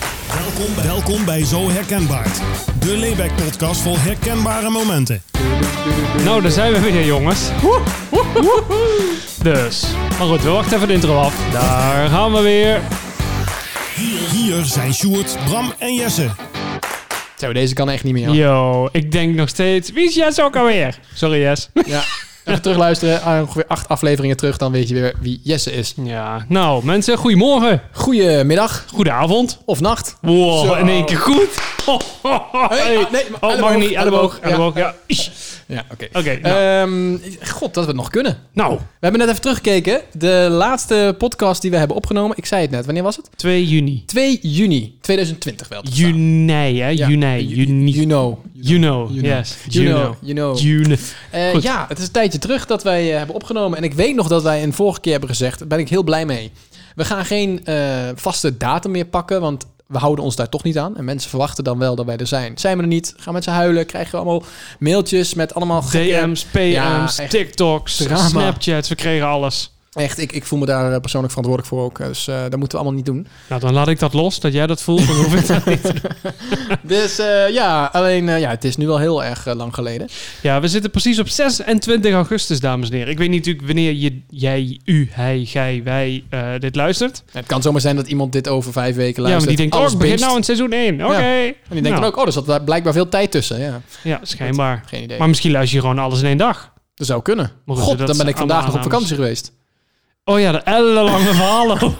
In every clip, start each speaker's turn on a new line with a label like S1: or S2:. S1: Welkom bij, welkom bij Zo Herkenbaar. De Layback Podcast vol herkenbare momenten.
S2: Nou, daar zijn we weer, jongens. Woe, woe, woe, woe. Dus, maar goed, we wachten even de intro af. Daar gaan we weer.
S1: Hier, hier zijn Sjoerd, Bram en Jesse.
S3: Zo, deze kan echt niet meer. Ja.
S2: Yo, ik denk nog steeds. Wie is Jess ook alweer? Sorry, Jess.
S3: Even terugluisteren, ah, ongeveer acht afleveringen terug, dan weet je weer wie Jesse is.
S2: Ja, nou, mensen, goedemorgen.
S3: Goedemiddag
S2: Goedenavond.
S3: of nacht.
S2: Wow,
S3: Zo.
S2: in één keer goed. Ho, ho, ho.
S3: Hey,
S2: Hey.
S3: ah, nee,
S2: oh, mag
S3: elleboog,
S2: niet. Elleboog,
S3: elleboog,
S2: elleboog, ja.
S3: Ja, oké.
S2: Oké, nou.
S3: Ehm, God, dat we het nog kunnen.
S2: nou,
S3: We hebben net even teruggekeken. De laatste podcast die we hebben opgenomen, ik zei het net, wanneer was het?
S2: 2 juni.
S3: 2 juni 2020 wel. te verstaan.
S2: Juni, hè?
S3: Ja,
S2: Juni,
S3: ju-
S2: juni.
S3: You know.
S2: You know,
S3: You know.
S2: yes.
S3: You
S2: You
S3: know,
S2: know.
S3: you know.
S2: Juni.
S3: Eh,
S2: Goed.
S3: ja, het is een tijdje terug dat wij eh, hebben opgenomen. En ik weet nog dat wij een vorige keer hebben gezegd, daar ben ik heel blij mee. We gaan geen eh, vaste datum meer pakken, want we houden ons daar toch niet aan. En mensen verwachten dan wel dat wij er zijn. Zijn we er niet, gaan mensen huilen, krijgen we allemaal mailtjes met allemaal gekke-
S2: DM's, PM's,
S3: Ja, echt.
S2: TikToks,
S3: Drama.
S2: Snapchats. We kregen alles.
S3: Echt, ik, ik voel me daar eh, persoonlijk verantwoordelijk voor ook. Dus eh dat moeten we allemaal niet doen.
S2: Nou, dan laat ik dat los, dat jij dat voelt. Dan hoef ik dat niet.
S3: dus eh, ja, alleen eh, ja, het is nu wel heel erg eh, lang geleden.
S2: Ja, we zitten precies op 26 augustus, dames en heren. Ik weet niet natuurlijk wanneer je, jij, u, hij, gij, wij eh, dit luistert.
S3: Het kan zomaar zijn dat iemand dit over vijf weken
S2: ja, maar
S3: luistert.
S2: die denkt, oh,
S3: alles
S2: ik begin
S3: binst.
S2: nou in seizoen 1. Oké.
S3: En die denkt
S2: Nou,
S3: dan ook, oh, er zat daar blijkbaar veel tijd tussen. Ja,
S2: Ja, schijnbaar.
S3: geen idee.
S2: Maar misschien luister je gewoon alles in één dag.
S3: Dat zou kunnen.
S2: Maar goed, dat
S3: God, dan ben
S2: zijn
S3: ik vandaag nog
S2: allemaal
S3: op vakantie geweest.
S2: Oh ja, de ellenlange verhalen.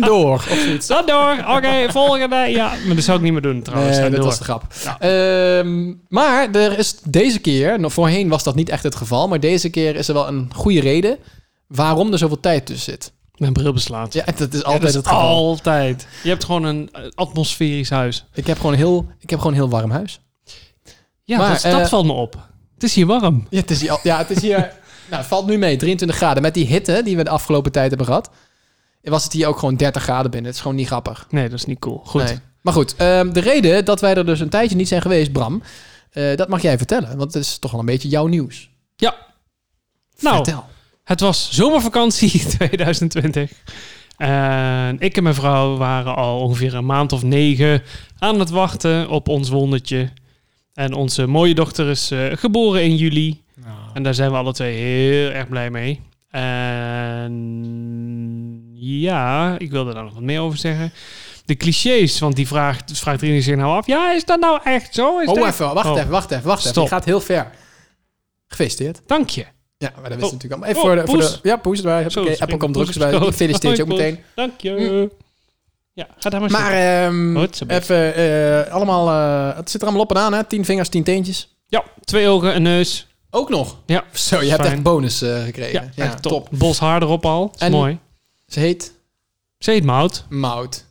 S3: door.
S2: Oh,
S3: Of zoiets.
S2: Zat door. Oké, volgende. Ja, maar dat zou ik niet meer doen trouwens.
S3: Nee,
S2: Ga
S3: Eh, dat
S2: door.
S3: was de grap.
S2: Ja.
S3: Ehm, maar er is deze keer, nou, voorheen was dat niet echt het geval, maar deze keer is er wel een goede reden waarom er zoveel tijd tussen zit.
S2: Mijn bril beslaat.
S3: Ja, dat is
S2: Ja,
S3: altijd
S2: dat is
S3: het geval.
S2: Altijd. Je hebt gewoon een eh, atmosferisch huis.
S3: Ik heb gewoon een heel, ik heb gewoon een heel warm huis.
S2: Ja,
S3: Maar,
S2: dat, dat
S3: eh,
S2: valt me op. Het is hier warm.
S3: Ja, het is hier, al- ja, het is hier nou, het valt nu mee, 23 graden. Met die hitte die we de afgelopen tijd hebben gehad, was het hier ook gewoon 30 graden binnen. Het is gewoon niet grappig.
S2: Nee, dat is niet cool. Goed.
S3: Nee. Maar goed, ehm, de reden dat wij er dus een tijdje niet zijn geweest, Bram, eh, dat mag jij vertellen. Want het is toch wel een beetje jouw nieuws.
S2: Ja. Nou,
S3: Vertel.
S2: het was zomervakantie 2020. En ik en mijn vrouw waren al ongeveer een maand of negen aan het wachten op ons wondertje. En onze mooie dochter is eh, geboren in juli.
S3: Nou.
S2: En daar zijn we alle twee heel erg blij mee. En ja, ik wilde daar nog wat meer over zeggen. De clichés, want die vraagt, vraagt iedereen zich nou af. Ja, is dat nou echt zo? Is dat
S3: Oh,
S2: echt-
S3: even, wacht
S2: Oh.
S3: even, wacht even, wacht even.
S2: Stop.
S3: Je gaat heel ver. Gefeliciteerd.
S2: Dank je.
S3: Ja, maar dat wist
S2: Oh.
S3: je natuurlijk allemaal. Even
S2: Oh,
S3: voor, de, voor
S2: poes.
S3: de... Ja, poes erbij.
S2: Zo,
S3: Oké,
S2: springt
S3: Apple komt
S2: poes
S3: drugs erbij. Ik
S2: op.
S3: feliciteer je ook
S2: Hoi, poes.
S3: meteen.
S2: Dank je. Ja, ga daar maar
S3: Maar ehm,
S2: Goed, zo ben ik.
S3: even eh, allemaal... eh, het zit er allemaal op en aan, hè? Tien vingers, tien teentjes.
S2: Ja, twee ogen, een neus.
S3: Ook nog.
S2: Ja,
S3: Zo, je hebt
S2: Fijn.
S3: echt bonus eh,
S2: Ja,
S3: gekregen. Ja,
S2: echt
S3: top.
S2: top. Bos haar erop al. Is
S3: En-
S2: mooi.
S3: Ze heet
S2: Ze heet Mout.
S3: Mout.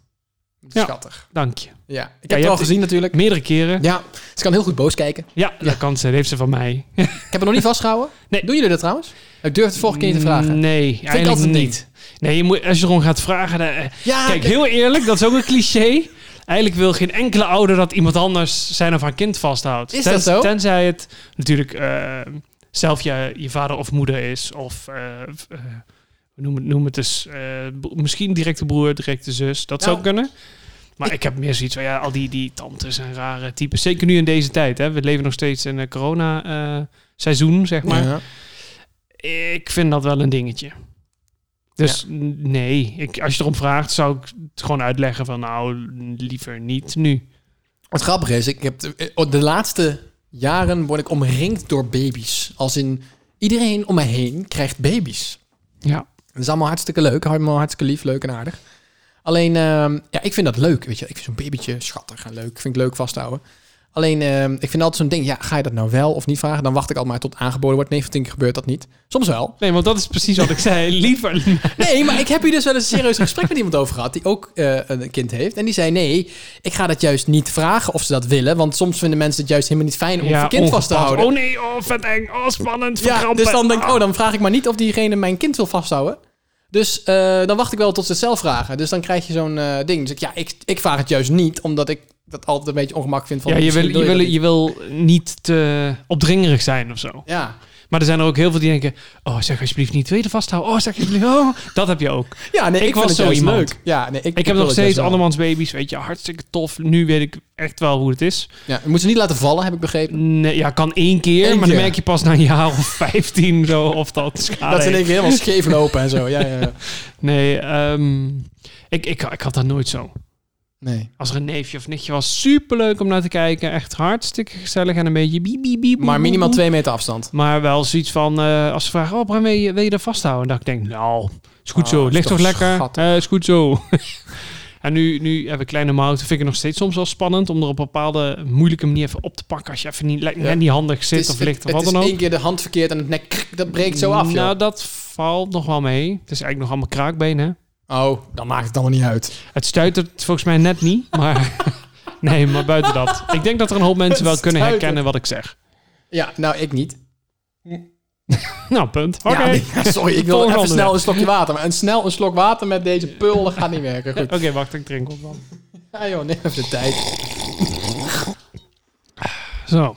S2: Ja.
S3: Schattig.
S2: Dank je.
S3: Ja, ik heb
S2: je
S3: het al
S2: hebt-
S3: gezien natuurlijk.
S2: Meerdere keren. Ja,
S3: Ja, ze kan heel goed boos kijken.
S2: dat kan ze. Dat heeft ze van mij.
S3: Ik heb het nog niet vastgehouden.
S2: Nee.
S3: Doen jullie dat trouwens? Ik durf het vorige keer niet te vragen.
S2: Nee, eigenlijk
S3: altijd
S2: niet.
S3: niet.
S2: Nee, je moet, als je erom gaat vragen... dan, eh,
S3: Ja,
S2: Kijk, heel eerlijk, dat is ook een cliché. Eigenlijk wil geen enkele ouder dat iemand anders zijn of haar kind vasthoudt.
S3: Is dat zo?
S2: Tenzij het natuurlijk eh, zelf je, je vader of moeder is. Of eh, f- eh, noem, het, noem het dus. eh, b- misschien directe broer, directe zus. Dat
S3: Nou,
S2: zou kunnen. Maar ik, heb meer zoiets van ja, al die, die tantes en rare types. Zeker nu in deze tijd. Hè. We leven nog steeds in een corona-seizoen, zeg maar.
S3: Ja.
S2: Ik vind dat wel een dingetje. Dus n- nee, ik, als je erom vraagt, zou ik het gewoon uitleggen van nou, liever niet nu.
S3: Wat grappig is, ik heb de, eh, de laatste jaren word ik omringd door baby's. Als in iedereen om mij heen krijgt baby's.
S2: Ja.
S3: Dat is allemaal hartstikke leuk, allemaal hartstikke lief, leuk en aardig. Alleen, ehm, ja, ik vind dat leuk, weet je. Ik vind zo'n babytje schattig en leuk. Ik vind het leuk vasthouden. Alleen, ehm, ik vind altijd zo'n ding, ja, ga je dat nou wel of niet vragen? Dan wacht ik altijd maar tot aangeboden wordt. 9 van 10 keer gebeurt dat niet. Soms wel,
S2: Nee, want dat is precies wat ik zei. Liever.
S3: Nee, maar ik heb hier dus wel eens een serieus gesprek met iemand over gehad. die ook eh, een kind heeft. En die zei: Nee, ik ga dat juist niet vragen of ze dat willen. Want soms vinden mensen het juist helemaal niet fijn om een kind vast te
S2: ongepast.
S3: houden.
S2: Oh nee, oh vet eng, oh spannend,
S3: ja,
S2: verkrampen.
S3: dus dan denk ik:
S2: Ah.
S3: Oh, dan vraag ik maar niet of diegene mijn kind wil vasthouden. Dus eh, dan wacht ik wel tot ze het zelf vragen. Dus dan krijg je zo'n eh, ding. Dus ik, ja, ik, ik vraag het juist niet, omdat ik dat altijd een beetje ongemak vind. Van,
S2: Ja, je wil,
S3: misschien
S2: je, wil,
S3: dat
S2: je wil niet te opdringerig zijn of zo.
S3: niet. Ja,
S2: Maar er zijn er ook heel veel die denken... Oh, zeg alsjeblieft niet tweede vasthouden. Oh, zeg alsjeblieft... Oh. Dat heb je ook.
S3: Ja, nee, ik,
S2: Ik was
S3: vind het
S2: zo
S3: juist
S2: iemand.
S3: leuk. Ja, nee, ik,
S2: Ik heb
S3: wil
S2: nog
S3: het juist
S2: steeds
S3: wel.
S2: andermans baby's, weet je. Hartstikke tof. Nu weet ik echt wel hoe het is.
S3: Ja, je moet ze niet laten vallen, heb ik begrepen.
S2: Nee, ja, kan één keer,
S3: Eén
S2: maar dan
S3: keer.
S2: merk je pas na een jaar of vijftien zo of dat schade
S3: dat e- ze
S2: heeft.
S3: in één keer helemaal scheef lopen en zo. Ja, ja, ja.
S2: Nee, ehm, ik, ik, ik had dat nooit zo.
S3: Nee.
S2: Als er een neefje of nichtje was, superleuk om naar te kijken. Echt hartstikke gezellig en een beetje biep, biep, biep,
S3: Maar
S2: boep,
S3: minimaal
S2: boep.
S3: twee meter afstand.
S2: Maar wel zoiets van, eh, als ze vragen, oh, Bram, wil je, wil je dat vasthouden? Dat ik denk, nou, is goed
S3: Ah,
S2: zo.
S3: is
S2: Ligt toch
S3: toch
S2: lekker?
S3: schattig.
S2: Eh is goed zo. en nu, nu heb ik kleine mouwen. Vind ik het nog steeds soms wel spannend om er op een bepaalde moeilijke manier even op te pakken. Als je even niet, lijkt me
S3: Ja.
S2: net niet handig zit
S3: Het is-
S2: of ligt
S3: het,
S2: of wat
S3: het
S2: dan
S3: is
S2: ook.
S3: één keer de hand verkeerd en het nek, krik, dat breekt zo af,
S2: Nou,
S3: joh.
S2: dat valt nog wel mee. Het is eigenlijk nog allemaal kraakbeen, hè?
S3: Oh, dan maakt het allemaal niet uit.
S2: Nou, Het stuitert volgens mij net niet, maar... nee, maar buiten dat. Ik denk dat er een hoop mensen wel
S3: Het
S2: kunnen
S3: stuitert.
S2: herkennen wat ik zeg.
S3: Ja, nou, ik niet.
S2: Nou, punt. Oké.
S3: Ja, nee, sorry, ik wil
S2: Volgende
S3: even snel
S2: onderwerp.
S3: een slokje water. Maar een snel een slok water met deze pul, dat gaat niet werken. Goed.
S2: Oké, wacht, ik drink op dan.
S3: Ja, joh, neem even de tijd.
S2: Zo.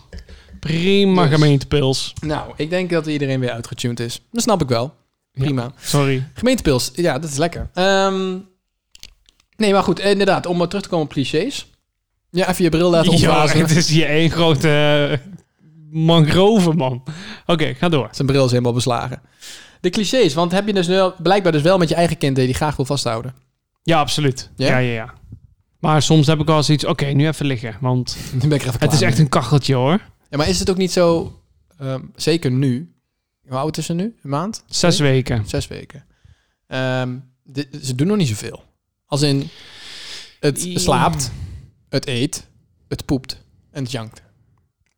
S2: Prima
S3: Dus.
S2: gemeentepils.
S3: Nou, ik denk dat iedereen weer uitgetuned is. Dat snap ik wel. Prima.
S2: Sorry.
S3: Gemeentepils, ja, dat is lekker. Ehm, nee, maar goed, eh, inderdaad, om maar terug te komen op clichés. Ja, even je bril laten
S2: Jo,
S3: opblazen.
S2: het is hier één grote eh, mangrove, man. Oké, ga door.
S3: Zijn bril is helemaal beslagen. De clichés, want heb je dus nu wel- blijkbaar dus wel met je eigen kind die je graag wil vasthouden.
S2: Ja, absoluut.
S3: Ja?
S2: Ja, ja, ja. Maar soms heb ik wel eens iets... Oké, nu even liggen, want
S3: Dan ben ik er even
S2: het
S3: klaar
S2: is echt
S3: mee.
S2: een kacheltje, hoor.
S3: Ja, maar is het ook niet zo, ehm, zeker nu, hoe oud is ze nu? Een maand?
S2: Zes weken.
S3: Zes weken. Ehm, de- ze doen nog niet zoveel. Als in, het
S2: Ja.
S3: slaapt, het eet, het poept en het jankt.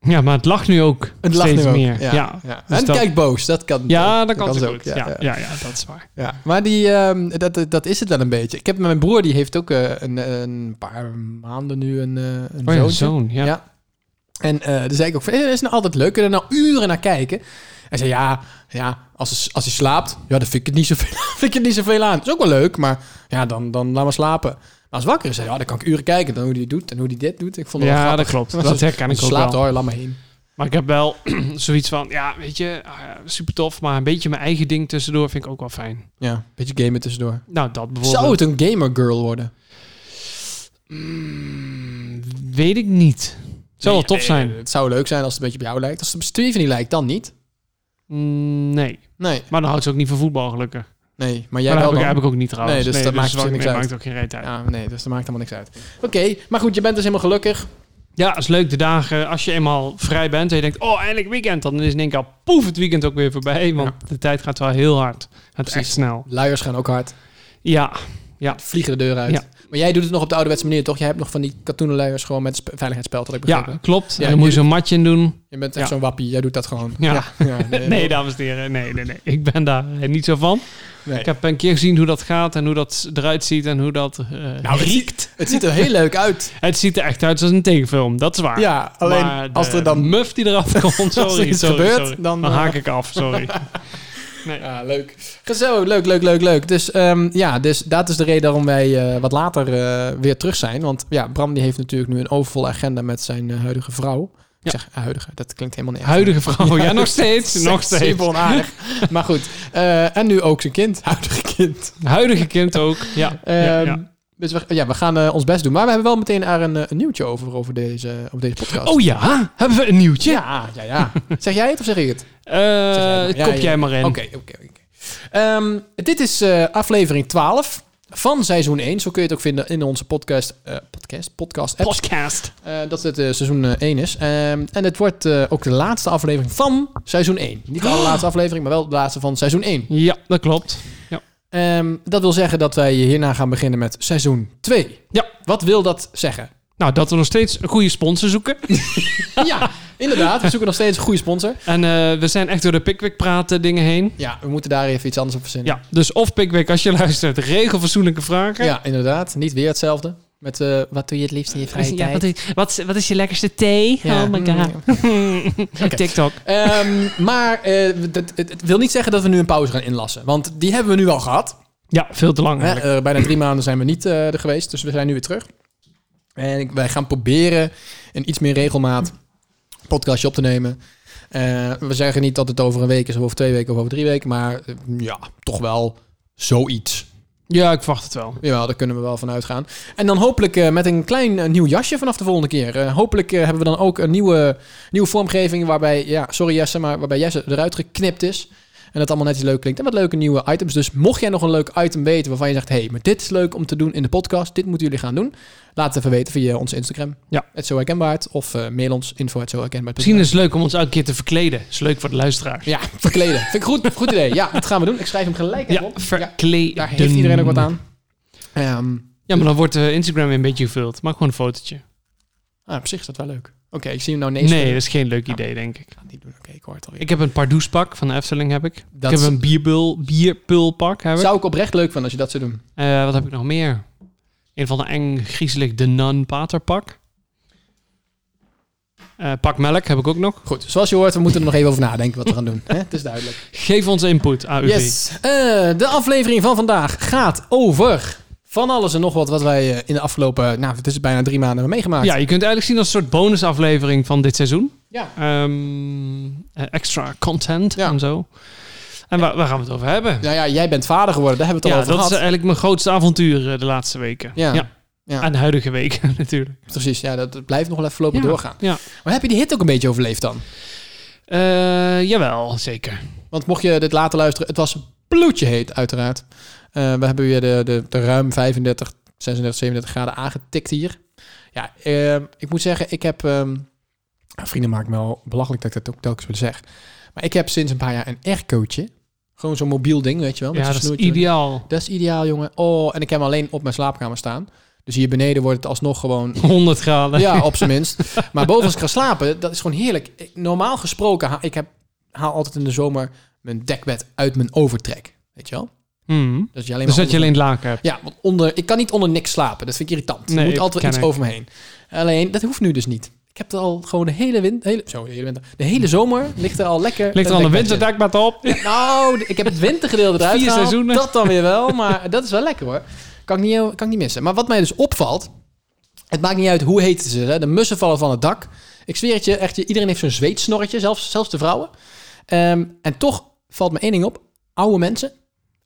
S2: Ja, maar het lag nu ook
S3: Het lag
S2: steeds
S3: nu ook.
S2: meer. Ja,
S3: Ja.
S2: ja.
S3: Ja.
S2: Dus
S3: en
S2: dat-
S3: kijk boos, dat kan.
S2: dat kan
S3: ze
S2: zo goed. Ja, ja. Ja, dat is waar.
S3: Ja, maar die, ehm, dat, dat is het wel een beetje. Ik heb mijn broer, die heeft ook eh, een, een paar maanden nu een, eh een
S2: Oh ja,
S3: zoontje.
S2: zoon. Ja.
S3: Ja. En eh dan zei ik ook van, eh, dat is nou altijd leuk. Kunnen we er nou uren naar kijken? Hij zei, ja, ja als, hij, als hij slaapt, ja, dan vind ik het niet zoveel, vind ik het niet zoveel aan. is ook wel leuk, maar ja, dan, dan laat maar slapen. Maar als wakker is, zei hij, ja, dan kan ik uren kijken. Dan hoe hij doet en hoe hij dit doet. Ik vond het wel
S2: Ja, dat
S3: grappig.
S2: klopt. Dat herken ik ook
S3: slaapt,
S2: wel.
S3: hoor, laat maar heen.
S2: Maar ik heb wel zoiets van, ja, weet je, ah, ja, super tof, maar een beetje mijn eigen ding tussendoor vind ik ook wel fijn.
S3: Ja, beetje gamen tussendoor.
S2: Nou, dat bijvoorbeeld.
S3: Zou het een gamer girl worden?
S2: Mm, weet ik niet. Het zou wel tof zijn.
S3: Het zou leuk zijn als het een beetje op jou lijkt. Als het op Steven niet lijkt, dan niet.
S2: Mm, Nee.
S3: Nee,
S2: Maar dan houdt ze ook niet van voetbal, gelukkig.
S3: nee. Maar Ah. jij
S2: Maar dat
S3: wel
S2: heb ik,
S3: dan.
S2: heb ik ook niet trouwens.
S3: Nee, dus dat maakt
S2: wat-
S3: natuurlijk niks
S2: nee,
S3: uit.
S2: maakt ook geen reet uit. Ja.
S3: Ja, nee, dus dat maakt helemaal niks uit. Oké, maar goed, je bent dus helemaal gelukkig.
S2: is leuk de dagen als je eenmaal vrij bent en je denkt, oh, eindelijk weekend. Dan is in één keer al, poef het weekend ook weer voorbij, want de tijd gaat wel heel hard. Het is echt
S3: Precies.
S2: snel.
S3: Luiers gaan ook hard.
S2: Ja,
S3: vliegen de deur uit.
S2: Ja.
S3: Maar jij doet het nog op de ouderwetse manier, toch? Jij hebt nog van die katoenen luiers gewoon met spe- veiligheidsspeld, had ik begrepen.
S2: ja klopt.
S3: Ja,
S2: en dan moet je
S3: jullie-
S2: zo'n matje in doen.
S3: Je bent echt
S2: Ja.
S3: zo'n wappie, jij doet dat gewoon.
S2: Ja.
S3: ja, nee,
S2: Nee, dames en heren. Nee, nee, nee. Ik ben daar eh, niet zo van.
S3: nee.
S2: Ik heb een keer gezien hoe dat gaat en hoe dat eruit ziet en hoe dat eh,
S3: het
S2: riekt.
S3: ziet, het ziet er heel leuk uit.
S2: Het ziet er echt uit als een tegenfilm, dat is waar.
S3: Ja, alleen
S2: Maar de
S3: als er dan...
S2: muff die eraf komt, sorry,
S3: Als er iets
S2: sorry,
S3: gebeurt,
S2: sorry.
S3: dan,
S2: Dan,
S3: eh,
S2: haak ik af, sorry.
S3: Ja, leuk. Gezellig, leuk, leuk, leuk, leuk. Dus ehm, ja, dus dat is de reden waarom wij eh, wat later eh, weer terug zijn. Want ja, Bram die heeft natuurlijk nu een overvolle agenda met zijn eh, huidige vrouw.
S2: Ja.
S3: Ik zeg eh, huidige, dat klinkt helemaal niet erg.
S2: Huidige vrouw, ja, nog steeds,
S3: Seks-
S2: nog steeds.
S3: Super onaardig. maar goed, eh, en nu ook zijn kind, huidige kind.
S2: Huidige kind ook, ja. ja,
S3: Ehm,
S2: ja.
S3: Dus we, ja, we gaan eh, ons best doen. Maar we hebben wel meteen daar een, eh, een nieuwtje over, over deze, over deze podcast.
S2: Oh ja, hebben we een nieuwtje?
S3: ja, ja, ja. zeg jij het of zeg ik het?
S2: Eh,
S3: jij maar.
S2: kop
S3: Ja, ja,
S2: jij maar in.
S3: Oké, oké, oké. Ehm, Dit is eh, aflevering 12 van seizoen 1. Zo kun je het ook vinden in onze podcast. eh, podcast? Podcast app.
S2: Podcast.
S3: Eh, dat het eh, seizoen eh, 1 is. Ehm, en het wordt eh, ook de laatste aflevering van seizoen 1. Niet de allerlaatste
S2: Oh!
S3: aflevering, maar wel de laatste van seizoen 1.
S2: Ja, dat klopt.
S3: Ehm, dat wil zeggen dat wij hierna gaan beginnen met seizoen 2.
S2: Ja.
S3: Wat wil dat zeggen?
S2: Nou, dat we nog steeds een goede sponsor zoeken.
S3: Ja, inderdaad. We zoeken nog steeds een goede sponsor.
S2: En eh, we zijn echt door de Pickwick praten dingen heen.
S3: Ja, we moeten daar even iets anders op verzinnen.
S2: Ja, dus of Pickwick als je luistert, regel fatsoenlijke vragen.
S3: Ja, inderdaad. Niet weer hetzelfde. Met eh, wat doe je het liefst in je vrije
S2: Ja,
S3: tijd?
S2: wat, is, wat, is- wat is je lekkerste thee?
S3: Ja.
S2: Oh my god. TikTok.
S3: Ehm, maar eh, dat- het, het wil niet zeggen dat we nu een pauze gaan inlassen. Want die hebben we nu al gehad.
S2: Ja, veel te lang
S3: Hè,
S2: eigenlijk.
S3: eh, bijna drie maanden zijn we niet eh, er geweest. Dus we zijn nu weer terug. En ik- wij gaan proberen een iets meer regelmaat podcastje op te nemen. Eh, we zeggen niet dat het over een week is, of over twee weken, of over drie weken. Maar eh, ja, toch wel zoiets.
S2: Ja, ik verwacht het wel.
S3: Jawel, daar kunnen we wel van uitgaan. En dan hopelijk eh, met een klein eh, nieuw jasje vanaf de volgende keer. Eh, hopelijk eh, hebben we dan ook een nieuwe, nieuwe vormgeving waarbij, ja, sorry Jesse, maar waarbij Jesse eruit geknipt is. En dat allemaal netjes leuk klinkt. En wat leuke nieuwe items. Dus mocht jij nog een leuk item weten waarvan je zegt, hé, hey, maar dit is leuk om te doen in de podcast. Dit moeten jullie gaan doen. Laat het even weten via onze Instagram.
S2: Ja.
S3: Het zo herkenbaar. Of eh, mail ons info het zo herkenbaar.
S2: Misschien is het leuk om ons elke keer te verkleden. Is leuk voor de luisteraars.
S3: Ja, verkleden. Vind ik goed. Goed idee. Ja, dat gaan we doen. Ik schrijf hem gelijk even
S2: Ja,
S3: op. Ja,
S2: verkleden.
S3: daar heeft iedereen ook wat aan. Ehm
S2: Ja, maar dan wordt eh, Instagram weer een beetje gevuld. Maak gewoon een fotootje.
S3: Ah, op zich is dat wel leuk. Oké, ik zie hem nou nee.
S2: Nee, dat
S3: schudden.
S2: is geen leuk
S3: Ja.
S2: idee, denk ik.
S3: Ik ga het niet doen. Oké, ik hoor het alweer.
S2: Ik heb een Pardoespak van de Efteling, heb ik.
S3: dat
S2: ik heb een bierbul, bierpulpak, heb ik.
S3: zou ik oprecht leuk vinden als je dat zou doen.
S2: Eh, wat heb ik nog meer? Een van de eng, griezelig de nun paterpak. Eh, pak melk heb ik ook nog.
S3: Goed, zoals je hoort, we moeten er nog even over nadenken wat we gaan doen. Hè? Het is duidelijk.
S2: Geef ons input, AUV.
S3: Yes. Eh, de aflevering van vandaag gaat over van alles en nog wat wat wij eh, in de afgelopen, nou, het is bijna drie maanden hebben meegemaakt.
S2: Ja, je kunt het eigenlijk zien als een soort bonusaflevering van dit seizoen.
S3: ja.
S2: Ehm, eh, extra content
S3: Ja.
S2: en zo. En waar, waar gaan we het over hebben?
S3: Nou ja, jij bent vader geworden, daar hebben we
S2: Ja,
S3: het al
S2: dat
S3: over
S2: is eh,
S3: gehad.
S2: eigenlijk mijn grootste avontuur eh, de laatste weken.
S3: Ja. Ja.
S2: En de huidige weken natuurlijk.
S3: Precies, ja, dat dat blijft nog wel even voorlopig
S2: Ja,
S3: doorgaan.
S2: Ja.
S3: Maar heb je die hit ook een beetje overleefd dan?
S2: Eh, jawel, zeker.
S3: Want mocht je dit later luisteren, het was bloedje heet uiteraard. Eh, we hebben weer de, de, de ruim 35, 36, 37 graden aangetikt hier. Ja, eh, ik moet zeggen, ik heb... ehm, vrienden maken me al belachelijk dat ik dat ook telkens weer zeg. Maar ik heb sinds een paar jaar een aircootje. Gewoon zo'n mobiel ding, weet je wel. met
S2: Ja,
S3: zo'n
S2: dat is
S3: snoertje.
S2: ideaal.
S3: Dat is ideaal, jongen. Oh, en ik heb hem alleen op mijn slaapkamer staan. Dus hier beneden wordt het alsnog gewoon
S2: 100 graden.
S3: ja, op zijn minst. Maar boven als ik ga slapen, dat is gewoon heerlijk. Ik- Normaal gesproken, ha- ik heb, haal altijd in de zomer mijn dekbed uit mijn overtrek. Weet je wel?
S2: Mhm.
S3: Dat je alleen
S2: Dus
S3: maar
S2: dat je
S3: onder-
S2: alleen het laken hebt.
S3: Ja, want onder, ik kan niet onder niks slapen. Dat vind ik irritant.
S2: Nee,
S3: er moet
S2: ik
S3: altijd
S2: ken
S3: iets
S2: ik.
S3: over me heen. Alleen, dat hoeft nu dus niet. Ik heb er al gewoon de hele winter... Hele, zo, de hele winter. De hele zomer ligt er al lekker...
S2: Ligt er al een
S3: dekbedje.
S2: winterdekbed op?
S3: Nou, d- ik heb het wintergedeelte eruit
S2: Vier
S3: gehaald.
S2: seizoenen.
S3: Dat dan weer wel, maar dat is wel lekker hoor. Kan ik, niet, heel- kan ik niet missen. Maar wat mij dus opvalt, het maakt niet uit hoe heet ze. Hè? De mussen vallen van het dak. Ik zweer het je, echt, je- iedereen heeft zo'n zweetsnorretje, zelfs, zelfs de vrouwen. Ehm, en toch valt me één ding op. Oude mensen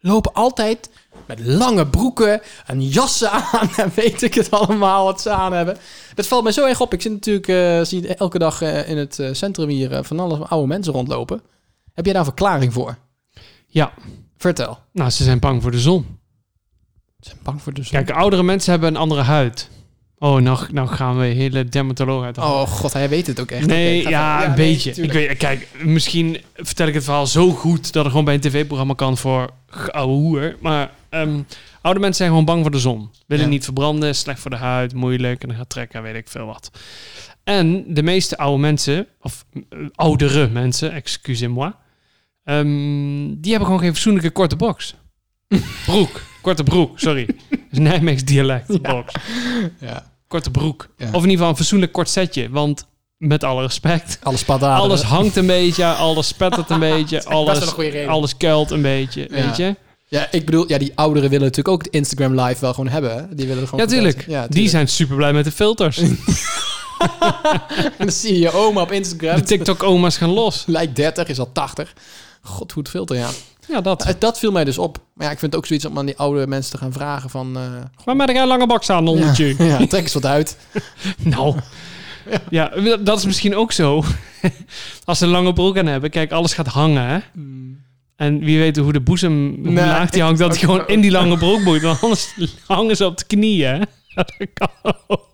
S3: lopen altijd met lange broeken en jassen aan. En weet ik het allemaal wat ze aan hebben. Dat valt mij zo erg op. Ik zit natuurlijk eh, zie elke dag eh, in het eh, centrum hier eh, van alles oude mensen rondlopen. Heb jij daar een verklaring voor?
S2: Ja.
S3: Vertel.
S2: Nou, ze zijn bang voor de zon.
S3: Ze zijn bang voor de zon.
S2: Kijk, oudere mensen hebben een andere huid. Oh, nou, nou gaan we hele dermatoloog uit de hand.
S3: Oh god, hij weet het ook echt.
S2: eh, Nee,
S3: Oké, ga
S2: ja,
S3: verder.
S2: een
S3: nee,
S2: beetje. ik
S3: tuurlijk.
S2: weet, kijk, misschien vertel ik het verhaal zo goed dat er gewoon bij een tv-programma kan voor oude hoer. Maar ehm, oude mensen zijn gewoon bang voor de zon. Willen
S3: Ja.
S2: niet verbranden, slecht voor de huid, moeilijk en dan gaat trekken, weet ik veel wat. En de meeste oude mensen, of eh, oudere mensen, excusez-moi, ehm, die hebben gewoon geen fatsoenlijke korte box. broek, korte broek, sorry. Dat is Nijmeegs dialect, box
S3: Ja.
S2: korte broek.
S3: Ja.
S2: Of in ieder geval een fatsoenlijk kort setje. Want met alle respect,
S3: Alles padaden.
S2: alles hangt een beetje, alles spettert een beetje,
S3: best wel
S2: alles,
S3: een goede reden.
S2: alles kuilt een beetje,
S3: Ja.
S2: weet je?
S3: Ja, ik bedoel, ja, die ouderen willen natuurlijk ook de Instagram live wel gewoon hebben. hè? Die willen er
S2: Ja,
S3: gewoon
S2: tuurlijk. Die zijn super blij met de filters.
S3: En dan zie je je oma op Instagram.
S2: De TikTok-oma's gaan los.
S3: Lijkt 30, is al 80. God, hoe het filter, ja.
S2: Ja, dat.
S3: Eh, Dat viel mij dus op. Maar ja, ik vind het ook zoiets om aan die oude mensen te gaan vragen van... eh,
S2: Maar met een lange bak aan
S3: ja,
S2: ondertje.
S3: ja, trek eens wat uit.
S2: Nou. Ja, dat is misschien ook zo. Als ze een lange broek aan hebben, kijk, alles gaat hangen, hè? En wie weet hoe de boezem, hoe
S3: Hmm. Nee.
S2: laag die hangt, dat hij gewoon in die lange broek moet. Want anders hangen ze op de knieën, hè? Dat kan ook.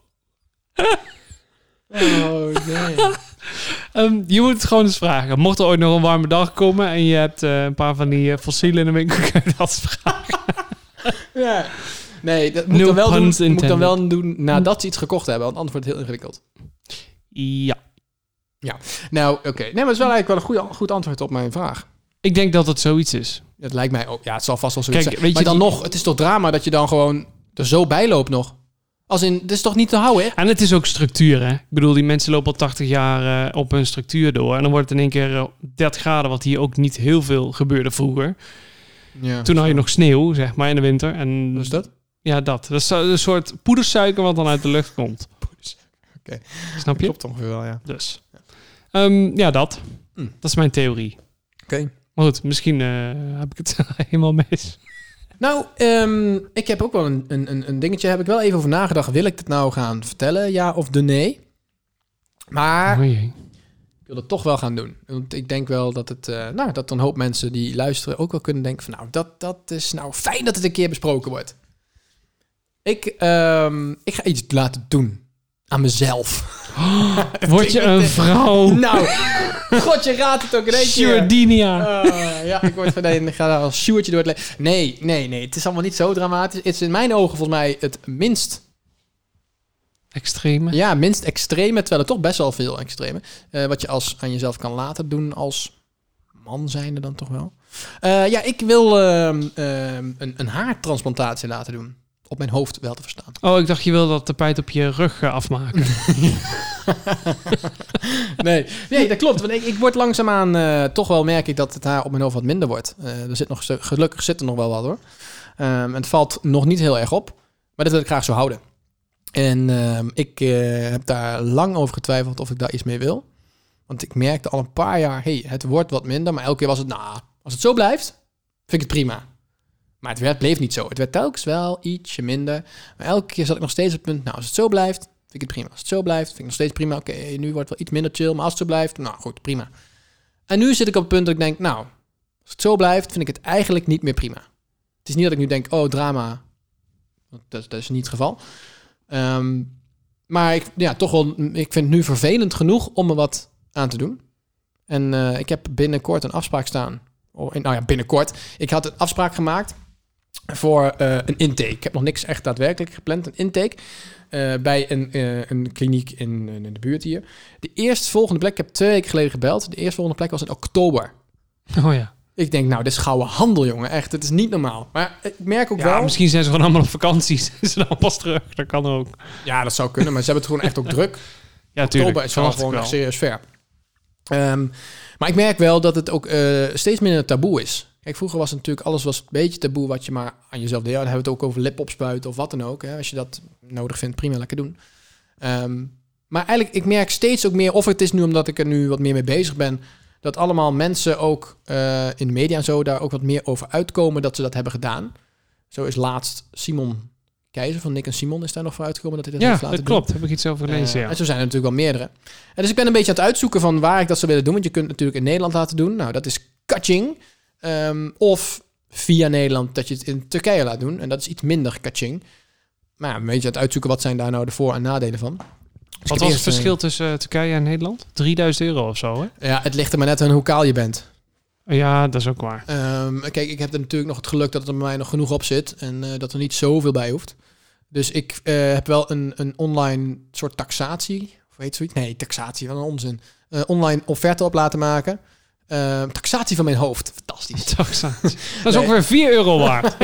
S3: Oh, nee.
S2: Ehm, je moet het gewoon eens vragen. Mocht er ooit nog een warme dag komen en je hebt eh, een paar van die eh, fossielen in de winkel, kun je dat eens vragen.
S3: Ja. Nee, dat moet,
S2: No
S3: dan wel doen,
S2: puns
S3: moet dan
S2: intended.
S3: wel doen nadat ze iets gekocht hebben. Want anders wordt het heel ingewikkeld.
S2: Ja.
S3: Nou, oké. Nee, maar het is wel eigenlijk wel een goede, goed antwoord op mijn vraag.
S2: Ik denk dat dat zoiets is.
S3: Het lijkt mij ook. Ja, het zal vast wel zoiets
S2: Kijk,
S3: zijn.
S2: weet
S3: Maar
S2: je
S3: dan nog, het is toch drama dat je dan gewoon er zo bij loopt nog. Als in, dit is toch niet te houden, hè?
S2: En het is ook structuur, hè? Ik bedoel, die mensen lopen al 80 jaar eh, op hun structuur door. En dan wordt het in één keer eh, 30 graden, wat hier ook niet heel veel gebeurde vroeger.
S3: Ja.
S2: Toen had je nog sneeuw, zeg maar, in de winter. En
S3: Dus dat?
S2: Ja, dat. Dat is zo- een soort poedersuiker wat dan uit de lucht komt.
S3: Oké.
S2: Snap je?
S3: ongeveer wel, ja.
S2: Dus. Ehm, ja, dat.
S3: Hm.
S2: Dat is mijn theorie.
S3: Oké.
S2: Maar goed, misschien eh, heb ik het helemaal mis.
S3: Nou, ehm, ik heb ook wel een, een, een- een dingetje. Heb ik wel even over nagedacht. Wil ik dit nou gaan vertellen? Ja of de nee? Maar
S2: Oh jee.
S3: ik wil dat toch wel gaan doen. Want ik denk wel dat het, eh, nou, dat een hoop mensen die luisteren ook wel kunnen denken van, nou, dat, dat is nou fijn dat het een keer besproken wordt. Ik, ehm, ik ga iets laten doen aan mezelf.
S2: Word je een vrouw?
S3: Nou, god, je raadt het ook in één keer.
S2: Giordinia.
S3: Eh, ja, ik word van de ik ga daar als Sjoertje door het leven. Nee, nee, nee. Het is allemaal niet zo dramatisch. Het is in mijn ogen volgens mij het minst
S2: Extreme.
S3: Ja, minst extreme, terwijl er toch best wel veel extreme. eh, wat je als, aan jezelf kan laten doen als man zijnde dan toch wel. Eh, ja, ik wil ehm, ehm, een, een haartransplantatie laten doen. Op mijn hoofd wel te verstaan.
S2: Oh, ik dacht je wilde dat tapijt op je rug eh, afmaken.
S3: Nee, nee dat klopt. Want ik, ik word langzaamaan... eh, toch wel merk ik dat het haar op mijn hoofd wat minder wordt. Eh, er zit nog, zo- gelukkig zit er nog wel wat hoor. Ehm, het valt nog niet heel erg op. Maar dat wil ik graag zo houden. En ehm, ik eh, heb daar lang over getwijfeld of ik daar iets mee wil. Want ik merkte al een paar jaar... hey, het wordt wat minder. Maar elke keer was het... Nou, als het zo blijft, vind ik het prima. Maar het werd, bleef niet zo. Het werd telkens wel ietsje minder. Maar elke keer zat ik nog steeds op het punt... Nou, als het zo blijft, vind ik het prima. Als het zo blijft, vind ik nog steeds prima. Oké, nu wordt het wel iets minder chill, maar als het zo blijft, nou goed, prima. En nu zit ik op het punt dat ik denk, nou, als het zo blijft, vind ik het eigenlijk niet meer prima. Het is niet dat ik nu denk, oh, drama. Want Dat, dat is niet het geval. Ehm, maar ik, ja, toch wel, ik vind het nu vervelend genoeg om er wat aan te doen. En eh, ik heb binnenkort een afspraak staan. Oh, en- nou ja, binnenkort. Ik had een afspraak gemaakt voor eh, een intake. Ik heb nog niks echt daadwerkelijk gepland. Een intake eh, bij een, eh, een kliniek in, in de buurt hier. De eerstvolgende plek, ik heb twee weken geleden gebeld. De eerstvolgende plek was in oktober.
S2: Oh ja.
S3: Ik denk, nou, dit is gouden handel, jongen. Echt, het is niet normaal. Maar ik merk ook
S2: Ja,
S3: wel...
S2: misschien zijn ze gewoon allemaal op vakantie. Zijn ze dan pas terug. Dat kan ook.
S3: Ja, dat zou kunnen, maar ze hebben het gewoon echt ook druk.
S2: Ja, tuurlijk.
S3: Oktober is wel
S2: Verwacht ik
S3: gewoon
S2: wel.
S3: echt serieus ver. Ehm, maar ik merk wel dat het ook eh, steeds minder taboe is. Kijk, vroeger was het natuurlijk alles was een beetje taboe wat je maar aan jezelf deed. Ja, dan hebben we het ook over lip opspuiten of wat dan ook. Hè. Als je dat nodig vindt, prima, lekker doen. Ehm, maar eigenlijk, ik merk steeds ook meer, of het is nu omdat ik er nu wat meer mee bezig ben, dat allemaal mensen ook eh, in de media en zo daar ook wat meer over uitkomen dat ze dat hebben gedaan. Zo is laatst Simon Keizer van Nick en Simon is daar nog voor uitgekomen dat hij dat
S2: Ja,
S3: heeft laten
S2: dat
S3: doen.
S2: klopt. Heb ik iets over gelezen,
S3: Eh,
S2: ja.
S3: En zo zijn er natuurlijk wel meerdere. En dus ik ben een beetje aan het uitzoeken van waar ik dat zou willen doen. Want je kunt het natuurlijk in Nederland laten doen. Nou, dat is catching. Ehm, of via Nederland dat je het in Turkije laat doen. En dat is iets minder catching. Maar ja, een beetje aan het uitzoeken wat zijn daar nou de voor- en nadelen van. Dus ik heb
S2: Wat was het
S3: eerst, eh,
S2: verschil tussen eh, Turkije en Nederland? 3000 euro of zo, hè?
S3: ja, het ligt er maar net aan hoe kaal je bent.
S2: Ja, dat is ook waar.
S3: Ehm, kijk, ik heb er natuurlijk nog het geluk dat er bij mij nog genoeg op zit en eh, dat er niet zoveel bij hoeft. Dus ik eh, heb wel een, een online soort taxatie, of weet zoiets? Nee, taxatie, wat een onzin. Eh, online offerte op laten maken. Ehm, taxatie van mijn hoofd, fantastisch.
S2: Taxatie. Dat is
S3: Nee.
S2: ook weer 4 euro waard.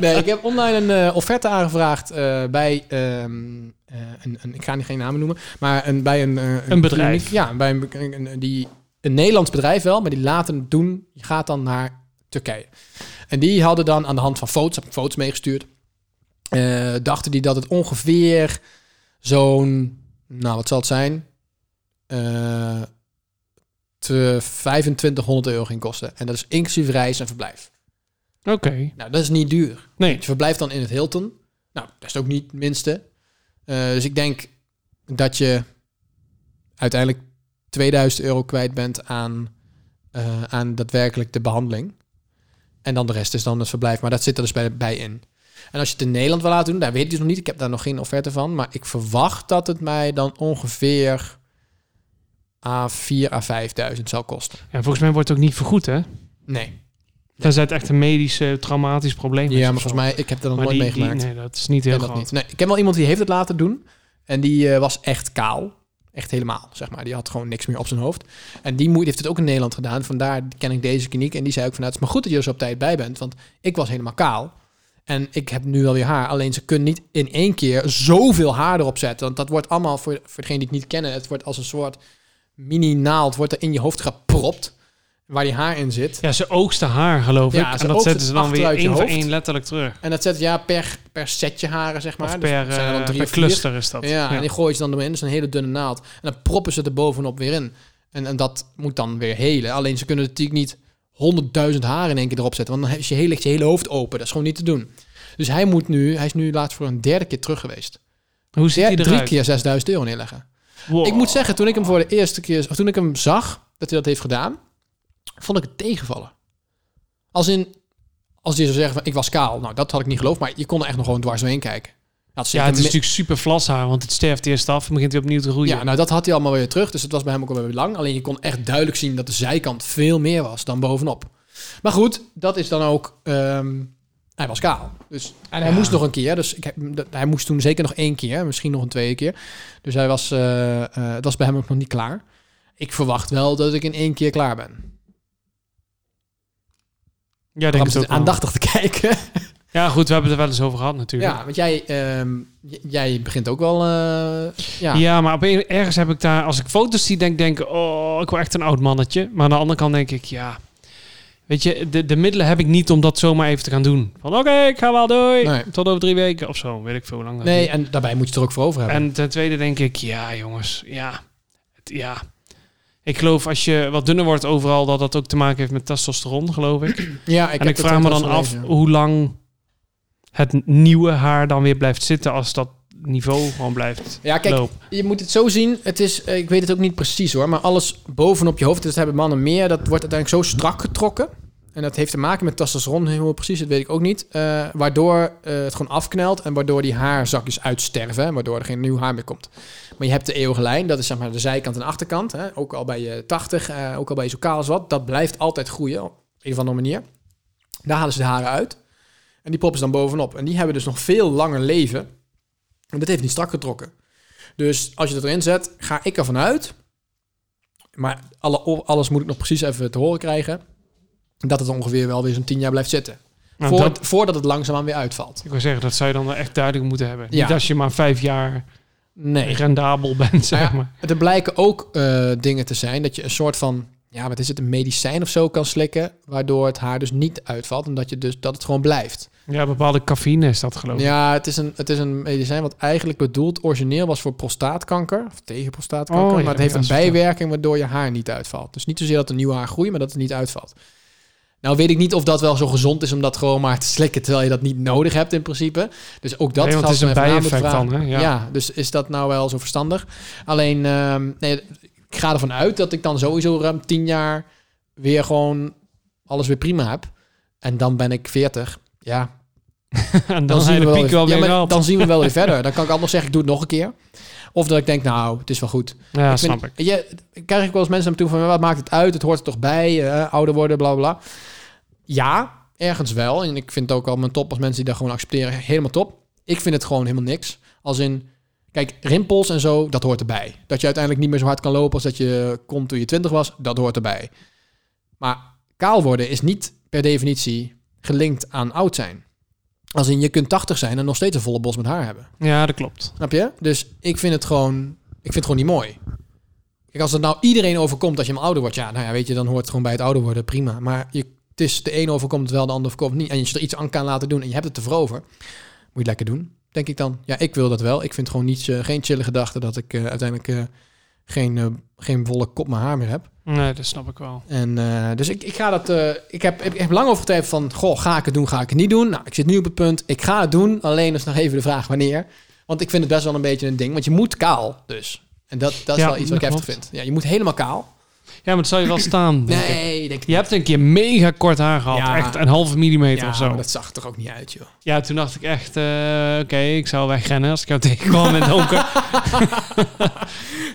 S3: nee, ik heb online een eh, offerte aangevraagd eh, bij ehm, eh, een, een, ik ga niet geen namen noemen, maar een, bij een, eh,
S2: Een bedrijf.
S3: kliniek. ja, bij een, een- een- die, een Nederlands bedrijf wel, maar die laten het doen. Je gaat dan naar Turkije. En die hadden dan aan de hand van foto's, heb ik foto's meegestuurd, eh, dachten die dat het ongeveer zo'n, nou wat zal het zijn? Eh, te 2500 euro ging kosten. En dat is inclusief reis en verblijf.
S2: Oké.
S3: Nou, dat is niet duur.
S2: Nee.
S3: Je verblijft dan in het Hilton. Nou, dat is ook niet het minste. Eh, dus ik denk dat je uiteindelijk 2000 euro kwijt bent aan, eh, aan daadwerkelijk de behandeling. En dan de rest is dan het verblijf. Maar dat zit er dus bij, bij in. En als je het in Nederland wil laten doen, daar weet ik dus nog niet. Ik heb daar nog geen offerte van. Maar ik verwacht dat het mij dan ongeveer A4 à 5000 zal kosten.
S2: Ja, volgens mij wordt het ook niet vergoed, hè?
S3: Nee.
S2: Tenzij het echt een medisch, eh, traumatisch probleem is.
S3: Ja, maar
S2: of zo.
S3: volgens mij, ik heb dat nog
S2: Maar
S3: nooit
S2: die- die-
S3: meegemaakt.
S2: nee, dat is niet heel
S3: Ik ken
S2: groot.
S3: dat niet. Nee, ik ken wel iemand die heeft het laten doen. En die eh, was echt kaal. Echt helemaal, zeg maar. Die had gewoon niks meer op zijn hoofd. En die moeite heeft het ook in Nederland gedaan. Vandaar ken ik deze kliniek. En die zei ook van, nou, het is maar goed dat je er zo op tijd bij bent. Want ik was helemaal kaal. En ik heb nu wel weer haar. Alleen ze kunnen niet in één keer zoveel haar erop zetten. Want dat wordt allemaal, voor, voor degenen die het niet kennen... het wordt als een soort mini-naald wordt er in je hoofd gepropt. waar die haar in zit.
S2: Ja, ze oogsten haar, geloof
S3: Ja,
S2: ik.
S3: ze
S2: En dat
S3: oogsten
S2: zetten ze dan weer
S3: achteruit je
S2: één voor
S3: hoofd.
S2: één letterlijk terug.
S3: En dat zet ja per, per setje haren, zeg maar.
S2: of
S3: Dus
S2: per,
S3: er zijn er
S2: eh,
S3: dan drie
S2: per
S3: of vier.
S2: cluster is dat.
S3: Ja, en die gooien ze dan doorheen. Dat is een hele dunne naald. En dan proppen ze er bovenop weer in. En, en dat moet dan weer helen. Alleen ze kunnen natuurlijk niet honderdduizend haren in één keer erop zetten. Want dan is je hele, ligt je hele hoofd open. Dat is gewoon niet te doen. Dus hij moet nu, hij is nu laatst voor een derde keer terug geweest.
S2: Hoe ziet
S3: Derde,
S2: die
S3: drie
S2: eruit?
S3: keer 6000 euro neerleggen.
S2: Wow.
S3: Ik moet zeggen, toen ik hem voor de eerste keer, of toen ik hem zag dat hij dat heeft gedaan, vond ik het tegenvallen. Als in, als je zou zeggen van ik was kaal, nou dat had ik niet geloofd, maar je kon er echt nog gewoon dwars doorheen kijken. Dat
S2: Ja, het is natuurlijk super vlas haar, want het sterft eerst af en begint weer opnieuw te groeien.
S3: Ja, nou dat had hij allemaal weer terug. Dus het was bij hem ook alweer lang. Alleen je kon echt duidelijk zien dat de zijkant veel meer was dan bovenop. Maar goed, dat is dan ook... ehm, hij was kaal. Dus, en hij
S2: Ja.
S3: moest nog een keer. Dus ik, heb- dat- hij moest toen zeker nog één keer. Misschien nog een tweede keer. Dus hij was, eh, eh, het was bij hem ook nog niet klaar. Ik verwacht wel dat ik in één keer klaar ben.
S2: ja, denk
S3: Bram
S2: het ook
S3: zit
S2: wel.
S3: aandachtig te kijken.
S2: Ja, goed, we hebben het er wel eens over gehad natuurlijk.
S3: ja, want jij, ehm, j- jij begint ook wel... eh, ja.
S2: Ja, maar op een- ergens heb ik daar, als ik foto's zie, denk denk, oh, ik wil echt een oud mannetje. Maar aan de andere kant denk ik, ja, weet je, de, de middelen heb ik niet om dat zomaar even te gaan doen. Van oké, ik ga wel, doei,
S3: Nee.
S2: tot over drie weken of zo, weet ik veel hoe lang dat
S3: Nee,
S2: duurt.
S3: en daarbij moet je het er ook voor over hebben.
S2: En ten tweede denk ik, ja jongens, ja, het- ja. Ik geloof als je wat dunner wordt overal, dat dat ook te maken heeft met testosteron, geloof ik.
S3: ja,
S2: en ik
S3: heb dat
S2: vraag me
S3: ook
S2: dan
S3: wel
S2: af
S3: gelezen.
S2: hoe lang het nieuwe haar dan weer blijft zitten als dat niveau gewoon blijft
S3: Ja, kijk,
S2: lopen.
S3: Je moet het zo zien. Het is, eh, ik weet het ook niet precies hoor. Maar alles bovenop je hoofd, dus dat hebben mannen meer. Dat wordt uiteindelijk zo strak getrokken. En dat heeft te maken met testosteron. Heel precies, dat weet ik ook niet. eh, waardoor eh, het gewoon afknelt. En waardoor die haarzakjes uitsterven. En waardoor er geen nieuw haar meer komt. Maar je hebt de eeuwige lijn. Dat is zeg maar de zijkant en de achterkant. Hè? Ook al bij je 80, eh, ook al bij je zo kaal als wat. Dat blijft altijd groeien. Op een of andere manier. Daar halen ze de haren uit. En die proppen ze dan bovenop. En die hebben dus nog veel langer leven. En dat heeft niet strak getrokken. Dus als je dat erin zet, ga ik ervan uit. Maar alle, alles moet ik nog precies even te horen krijgen. Dat het ongeveer wel weer zo'n tien jaar blijft zitten.
S2: Nou,
S3: Voor-
S2: dat-
S3: Voordat het langzaamaan weer uitvalt.
S2: Ik wil zeggen, dat zou je dan wel echt duidelijk moeten hebben.
S3: Ja.
S2: Niet als je maar vijf jaar
S3: Nee. Nou
S2: rendabel bent, zeg maar.
S3: Er blijken ook eh, dingen te zijn dat je een soort van, ja, wat is het, een medicijn of zo kan slikken. Waardoor het haar dus niet uitvalt. En dat, je dus, dat het gewoon blijft.
S2: Ja, bepaalde cafeïne is dat geloof ik.
S3: Ja, het is, een, het is een medicijn wat eigenlijk bedoeld origineel was voor prostaatkanker. Of tegen prostaatkanker.
S2: Oh, ja,
S3: maar het
S2: dat
S3: heeft
S2: heb
S3: een
S2: je al eens
S3: bijwerking waardoor je haar niet uitvalt. Dus niet zozeer dat er nieuw haar groeit, maar dat het niet uitvalt. Nou weet ik niet of dat wel zo gezond is om dat gewoon maar te slikken... terwijl je dat niet nodig hebt in principe. Dus ook dat
S2: Nee, want het
S3: zou
S2: is
S3: ik
S2: een
S3: me even na
S2: bijeffect
S3: moeten
S2: dan,
S3: vragen.
S2: hè? Ja.
S3: Ja. dus is dat nou wel zo verstandig? Alleen, ehm, nee, ik ga ervan uit dat ik dan sowieso ruim tien jaar... weer gewoon alles weer prima heb. En dan ben ik 40. Ja,
S2: en dan, zijn
S3: we
S2: de
S3: wel
S2: piek wel
S3: weer,
S2: weer
S3: ja, maar
S2: gehaald.
S3: dan zien we wel weer verder. Dan kan ik anders zeggen, ik doe het nog een keer. Of dat ik denk, nou, het is wel goed.
S2: Ja,
S3: Ik vind-
S2: snap ik.
S3: Je, krijg ik wel eens mensen naar me toe van, wat maakt het uit? Het hoort er toch bij? eh, ouder worden, bla, bla, bla. Ja, ergens wel. En ik vind het ook al mijn top als mensen die dat gewoon accepteren. Helemaal top. Ik vind het gewoon helemaal niks. Als in, kijk, rimpels en zo, dat hoort erbij. Dat je uiteindelijk niet meer zo hard kan lopen als dat je kon toen je 20 was, dat hoort erbij. Maar kaal worden is niet per definitie gelinkt aan oud zijn. Als in, je kunt 80 zijn en nog steeds een volle bos met haar hebben.
S2: Ja, dat klopt.
S3: Snap je? Dus ik vind het gewoon, ik vind het gewoon niet mooi. Kijk, als het nou iedereen overkomt dat je hem ouder wordt, ja, nou ja, weet je, dan hoort het gewoon bij het ouder worden, prima. Maar je, het is de een overkomt het wel, de ander overkomt het niet. En als je er iets aan kan laten doen en je hebt het ervoor over, moet je het lekker doen, denk ik dan. Ja, ik wil dat wel. Ik vind het gewoon niet, eh, geen chille gedachte dat ik eh, uiteindelijk eh, geen, eh, geen volle kop mijn haar meer heb.
S2: Nee, dat snap ik wel.
S3: En, eh, dus ik, ik ga dat. eh, ik, heb, ik heb lang over getwijfeld van. Goh, ga ik het doen? Ga ik het niet doen? Nou, ik zit nu op het punt. Ik ga het doen. Alleen is nog even de vraag wanneer. Want ik vind het best wel een beetje een ding. Want je moet kaal, dus. En dat, dat is
S2: Ja,
S3: wel iets wat ik
S2: dat
S3: heftig vind. Ja, je moet helemaal kaal.
S2: Ja, maar het zou je wel staan, denk ik.
S3: Nee, denk ik.
S2: Je hebt een keer mega kort haar gehad.
S3: Ja.
S2: Echt een halve millimeter
S3: Ja,
S2: of zo.
S3: maar dat zag toch ook niet uit, joh.
S2: Ja, toen dacht ik echt, eh, oké, ik zou wegrennen als ik jou tegenkwam met donker.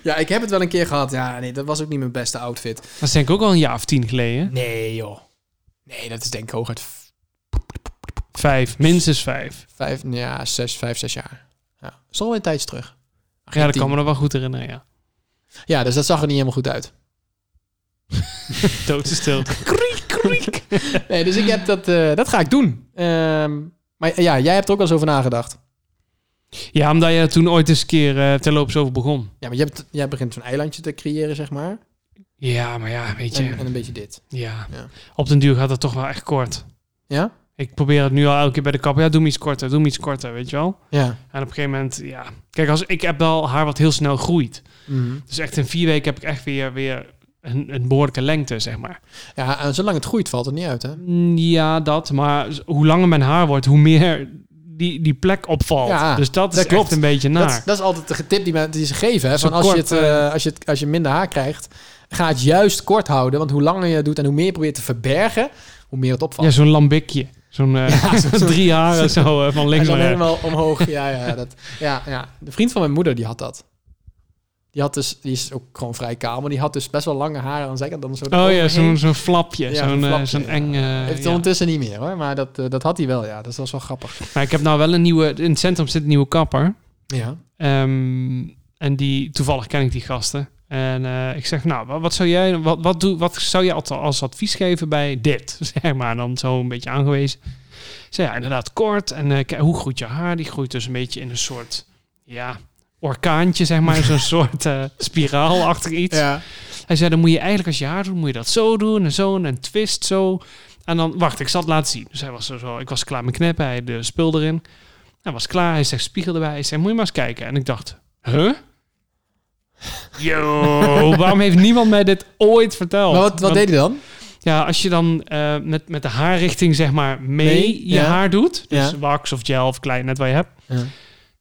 S3: Ja, ik heb het wel een keer gehad. Ja, nee, dat was ook niet mijn beste outfit.
S2: Dat is denk ik ook al een jaar of tien geleden.
S3: Nee, joh. Nee, dat is denk ik hooguit v-
S2: Vijf, minstens vijf.
S3: vijf, ja, zes, vijf, zes jaar. Ja, dat is alweer een tijdje terug. Geen
S2: Ja, dat
S3: tien.
S2: kan me nog wel goed herinneren, ja.
S3: Ja, dus dat zag er niet helemaal goed uit.
S2: Doodse stilte.
S3: Nee, dus ik heb dat, eh, dat ga ik doen. Ehm, maar ja, jij hebt er ook wel eens over nagedacht.
S2: Ja, omdat je er toen ooit eens een keer eh terloops over begon.
S3: Ja, maar jij, hebt, jij begint zo'n eilandje te creëren, zeg maar.
S2: Ja, maar ja, weet je.
S3: En, en een beetje dit.
S2: ja.
S3: Ja.
S2: Op den duur gaat het toch wel echt kort.
S3: Ja?
S2: Ik probeer het nu al elke keer bij de kapper. Ja, doe me iets korter, doe me iets korter, weet je wel.
S3: Ja.
S2: En op een gegeven moment, ja. Kijk, als, ik heb wel haar wat heel snel groeit.
S3: Mhm.
S2: Dus echt in vier weken heb ik echt weer, weer een, een behoorlijke lengte, zeg maar.
S3: Ja, en zolang het groeit valt het niet uit, hè?
S2: Mm, Ja, dat. Maar z- hoe langer mijn haar wordt, hoe meer die, die plek opvalt.
S3: Ja,
S2: dus dat is
S3: dat
S2: echt
S3: klopt.
S2: een beetje naar.
S3: Dat, dat is altijd de tip die, men- die ze geven. Hè?
S2: Zo
S3: Van als, je
S2: kort,
S3: het, eh, als, je het, als je minder haar krijgt, ga het juist kort houden. Want hoe langer je het doet en hoe meer je probeert te verbergen, hoe meer het opvalt.
S2: ja, zo'n lambikje. Zo'n eh,
S3: Ja, zo- zo-
S2: drie haren zo eh, van
S3: en
S2: links
S3: dan
S2: naar rechts.
S3: helemaal omhoog. Ja, ja, dat, ja, ja, de vriend van mijn moeder die had dat. Die, had dus, die is ook gewoon vrij kaal, maar die had dus best wel lange haren aan de zijkant. Dan een soort
S2: Oh ja,
S3: overheen.
S2: zo'n zo'n flapje.
S3: Ja,
S2: zo'n
S3: zo'n
S2: eh,
S3: flapje,
S2: zo'n
S3: ja.
S2: eng... eh,
S3: Heeft hij
S2: ja.
S3: ondertussen niet meer hoor, maar dat, eh, dat had hij wel, ja. Dus dat was wel grappig.
S2: Maar ik heb nou wel een nieuwe... In het centrum zit een nieuwe kapper.
S3: Ja.
S2: Ehm, en die, toevallig ken ik die gasten. En eh, ik zeg, nou, wat, wat zou jij, wat, wat, doe, wat zou je als, als advies geven bij dit? Zeg maar, dan zo een beetje aangewezen. Ik zei, ja, inderdaad, kort. En eh, kijk, hoe groeit je haar? Die groeit dus een beetje in een soort, ja, orkaantje, zeg maar. Zo'n soort eh, spiraalachtig iets.
S3: ja.
S2: Hij zei, dan moet je eigenlijk als je haar doet, moet je dat zo doen en zo en een twist zo. En dan, wacht, ik zal het laten zien. Dus hij was er zo, ik was klaar met knippen, hij had de spul erin. Hij was klaar, hij zegt spiegel erbij. Hij zei, moet je maar eens kijken. En ik dacht, huh? Yo, waarom heeft niemand mij dit ooit verteld?
S3: Maar wat, wat
S2: Want-
S3: deed hij dan?
S2: Ja, als je dan eh, met, met de haarrichting zeg maar mee
S3: Nee,
S2: je
S3: ja.
S2: haar doet, dus
S3: Ja.
S2: wax of gel of klein, net wat je hebt,
S3: Ja.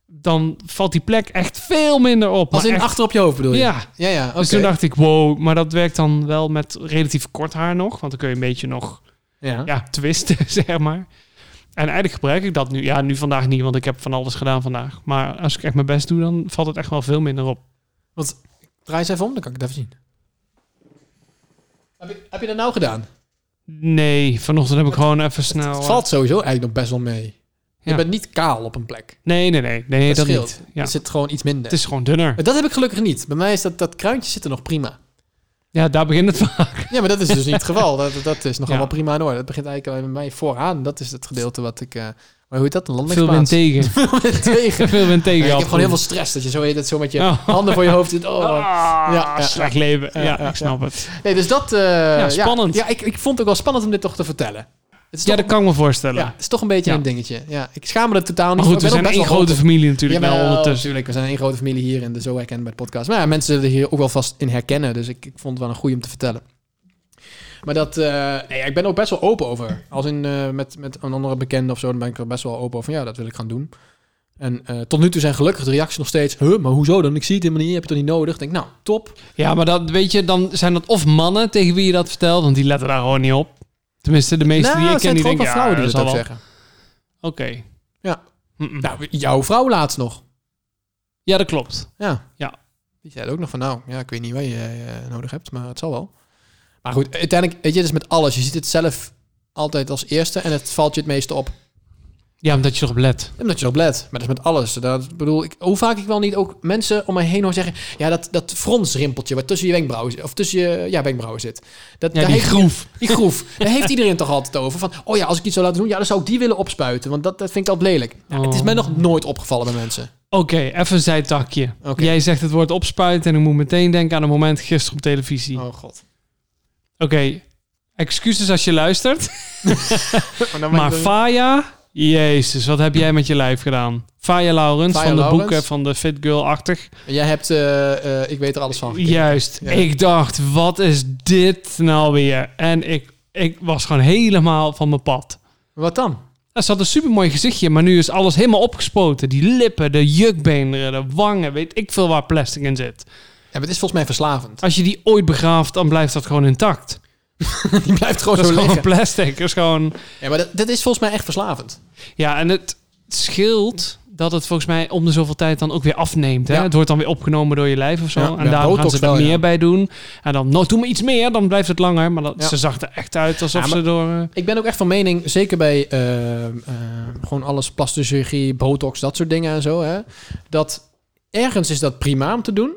S2: dan valt die plek echt veel minder op.
S3: Als
S2: Maar
S3: in
S2: echt-
S3: achter op je hoofd bedoel je?
S2: Ja,
S3: ja, ja oké.
S2: dus toen dacht ik, wow, maar dat werkt dan wel met relatief kort haar nog. Want dan kun je een beetje nog
S3: ja.
S2: ja, twisten, zeg maar. En eigenlijk gebruik ik dat nu. Ja, nu vandaag niet, want ik heb van alles gedaan vandaag. Maar als ik echt mijn best doe, dan valt het echt wel veel minder op.
S3: Draai eens even om, dan kan ik het even zien. Heb je, heb je dat nou gedaan?
S2: Nee, vanochtend heb ik gewoon even snel...
S3: het
S2: eh,
S3: valt sowieso eigenlijk nog best wel mee. Je
S2: Ja.
S3: bent niet kaal op een plek.
S2: eh, Nee, nee, nee. Nee,
S3: Dat,
S2: dat,
S3: scheelt.
S2: niet. Ja.
S3: Er zit gewoon iets minder.
S2: Het is gewoon dunner.
S3: Maar Dat heb ik gelukkig niet. Bij mij is dat, dat kruintje zit er nog prima.
S2: Ja, daar begint het van.
S3: Ja, maar dat is dus niet het geval. Dat, dat is nog
S2: Ja.
S3: allemaal prima in orde. Dat begint eigenlijk bij mij vooraan. Dat is het gedeelte wat ik... eh, maar hoe heet dat? Een
S2: Veel wind tegen.
S3: landingsplaats. tegen. tegen.
S2: Veel wind tegen.
S3: Ja, ik heb
S2: afvoer.
S3: gewoon heel veel stress. Dat je zo, dat zo met je
S2: Oh.
S3: handen voor je hoofd zit. Oh,
S2: Ah,
S3: Ja, ja,
S2: slecht leven. Ja,
S3: Ja, ja,
S2: ik snap het.
S3: Nee, dus dat... eh, ja,
S2: spannend.
S3: Ja, ik, ik vond het ook wel spannend om dit toch te vertellen. Het is
S2: Ja,
S3: toch-
S2: dat kan ik me voorstellen.
S3: ja, het is toch een beetje
S2: Ja.
S3: een dingetje. Ja, ik schaam me er totaal niet
S2: Maar goed, we zijn één grote familie natuurlijk wel nou, ondertussen.
S3: Natuurlijk, we zijn één grote familie hier in de Zo Herkenbaar podcast. Maar ja, mensen zullen hier ook wel vast in herkennen. Dus ik, ik vond het wel een goeie om te vertellen. Maar dat... eh, nee, ja, ik ben er ook best wel open over. Als in eh, met, met een andere bekende of zo, dan ben ik er best wel open over. Van, ja, dat wil ik gaan doen. En eh, tot nu toe zijn gelukkig de reacties nog steeds... Huh, maar hoezo dan? Ik zie het helemaal niet. Heb je het toch niet nodig? Ik denk, nou, top.
S2: Ja, maar dat, weet je, dan zijn dat of mannen tegen wie je dat vertelt, want die letten daar gewoon niet op. Tenminste, de meeste
S3: nou,
S2: die ik ken,
S3: zijn
S2: die
S3: toch ook
S2: denken,
S3: wel
S2: ja,
S3: vrouwen die
S2: dat zal
S3: dat ook
S2: wel. Oké.
S3: zeggen. Ja.
S2: Mm-mm.
S3: Nou, jouw vrouw laatst nog.
S2: Ja, dat klopt.
S3: Ja.
S2: Ja.
S3: Die zei ook nog van, nou, ja, ik weet niet wat je eh, nodig hebt, maar het zal wel. Maar goed, uiteindelijk, weet je, dus met alles. Je ziet het zelf altijd als eerste en het valt je het meeste op.
S2: Ja, omdat je erop let.
S3: Omdat je erop let. Maar dat is met alles. Dat bedoel ik, hoe vaak ik wel niet ook mensen om mij heen hoor zeggen, ja, dat, dat fronsrimpeltje wat tussen je wenkbrauwen zit, of tussen je ja, wenkbrauwen zit. Dat,
S2: Ja,
S3: daar
S2: die
S3: heeft-
S2: groef.
S3: Die groef. daar heeft iedereen toch altijd over. Van, oh ja, als ik iets zou laten doen, ja, dan zou ik die willen opspuiten, want dat, dat vind ik altijd lelijk. Nou, Het is
S2: Oh.
S3: mij nog nooit opgevallen bij mensen.
S2: Oké, even een zijtakje.
S3: Oké.
S2: Jij zegt het woord opspuiten en ik moet meteen denken aan een moment gisteren op televisie. Oké,
S3: Oh god.
S2: excuses als je luistert,
S3: Maar, dan
S2: maar Faya, jezus, wat heb jij met je lijf gedaan? Faya Laurens
S3: Faya
S2: van de
S3: Laurens.
S2: boeken van de Fit Girl-achtig.
S3: Jij hebt, eh, eh, ik weet er alles van. gekeken.
S2: Juist.
S3: Ja.
S2: Ik dacht, wat is dit nou weer? En ik, ik was gewoon helemaal van mijn pad.
S3: Wat dan?
S2: Nou, Ze had een supermooi gezichtje, maar nu is alles helemaal opgespoten. Die lippen, de jukbeenderen, de wangen, weet ik veel waar plastic in zit.
S3: Ja, maar het is volgens mij verslavend.
S2: Als je die ooit begraaft, dan blijft dat gewoon intact.
S3: Ah, Die blijft gewoon
S2: Dat
S3: zo
S2: is gewoon
S3: liggen.
S2: plastic. Dat is gewoon...
S3: Ja, maar dat, dat is volgens mij echt verslavend.
S2: Ja, en het scheelt dat het volgens mij om de zoveel tijd dan ook weer afneemt. Hè?
S3: Ja.
S2: Het wordt dan weer opgenomen door je lijf of zo.
S3: Ja,
S2: en
S3: ja,
S2: daarom gaan
S3: botox
S2: ze er
S3: wel, ja.
S2: meer bij doen. En dan, nou, doe maar iets meer, dan blijft het langer. Maar dat,
S3: Ja.
S2: ze zag er echt uit alsof
S3: Ja, maar-
S2: ze door... eh,
S3: Ik ben ook echt van mening, zeker bij eh, eh, gewoon alles, plastische chirurgie, botox, dat soort dingen en zo. Hè, dat ergens is dat prima om te doen.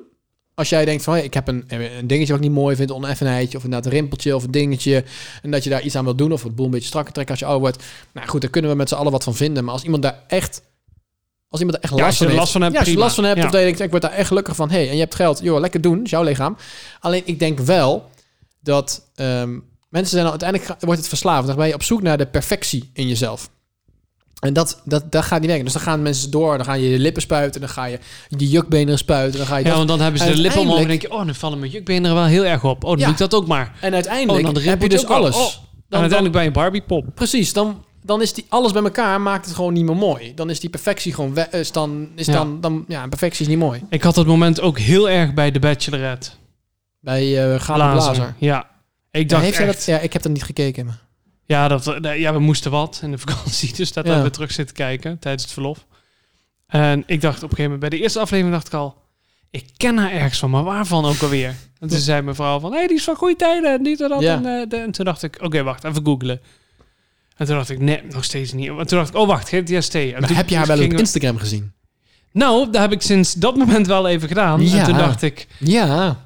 S3: Als jij denkt van, hey, ik heb een, eh, een dingetje wat ik niet mooi vind, een oneffenheidje of inderdaad een rimpeltje of een dingetje. En dat je daar iets aan wil doen of het boel een beetje strakker trekken als je ouder wordt. Nou goed, daar kunnen we met z'n allen wat van vinden. Maar als iemand daar echt... Als iemand daar echt
S2: Ja, als
S3: last,
S2: je
S3: van
S2: er
S3: heeft,
S2: last van hebt,
S3: ja, als je er
S2: prima.
S3: last van hebt,
S2: Ja.
S3: of dat je denkt, ik word daar echt gelukkig van. hey, en je hebt geld, joh, lekker doen, is jouw lichaam. Alleen ik denk wel, dat ehm, mensen zijn al, uiteindelijk ga- wordt het verslaafd. Dan ben je op zoek naar de perfectie in jezelf. En dat, dat, dat gaat niet werken. Dus dan gaan mensen door. Dan ga je je lippen spuiten. Dan ga je je jukbenen spuiten. Dan ga je
S2: Ja,
S3: dat.
S2: want dan hebben ze de lippen
S3: Uiteindelijk-
S2: omhoog en denk je, oh, dan vallen mijn jukbeenderen wel heel erg op. Oh, dan
S3: Ja.
S2: doe ik dat ook maar.
S3: En
S2: Oh,
S3: uiteindelijk
S2: dan
S3: heb je
S2: rimpelt
S3: dus
S2: het ook al.
S3: alles.
S2: Oh, en uiteindelijk bij een Barbie pop.
S3: Precies, dan, dan is die alles bij elkaar maakt het gewoon niet meer mooi. Dan is die perfectie gewoon we- is dan, is
S2: Ja.
S3: dan, dan ja, perfectie is niet mooi.
S2: Ik had dat moment ook heel erg bij The Bachelorette.
S3: Bij eh Gale Blazer.
S2: Blazer. Ja. Ik
S3: Ja,
S2: dacht
S3: heeft hij
S2: echt-
S3: dat? Ja, ik heb dat niet gekeken. maar-
S2: Ja, dat, nee, ja, we moesten wat in de vakantie. Dus dat
S3: Ja.
S2: hebben we terug zitten kijken tijdens het verlof. En ik dacht op een gegeven moment, bij de eerste aflevering dacht ik al... Ik ken haar ergens van, maar waarvan ook alweer? En toen zei mijn vrouw van, hé, hey, die is van goede tijden. En, dit en, dat.
S3: Ja.
S2: en, eh, de- en toen dacht ik, oké, wacht, even googlen. En toen dacht ik, nee, nog steeds niet. En toen dacht ik, oh, wacht, GTST. En
S3: Maar
S2: toen-
S3: heb je
S2: toen
S3: haar wel op
S2: dus gingen we-
S3: Instagram gezien?
S2: Nou, dat heb ik sinds dat moment wel even gedaan.
S3: Ja.
S2: En toen dacht ik,
S3: Ja.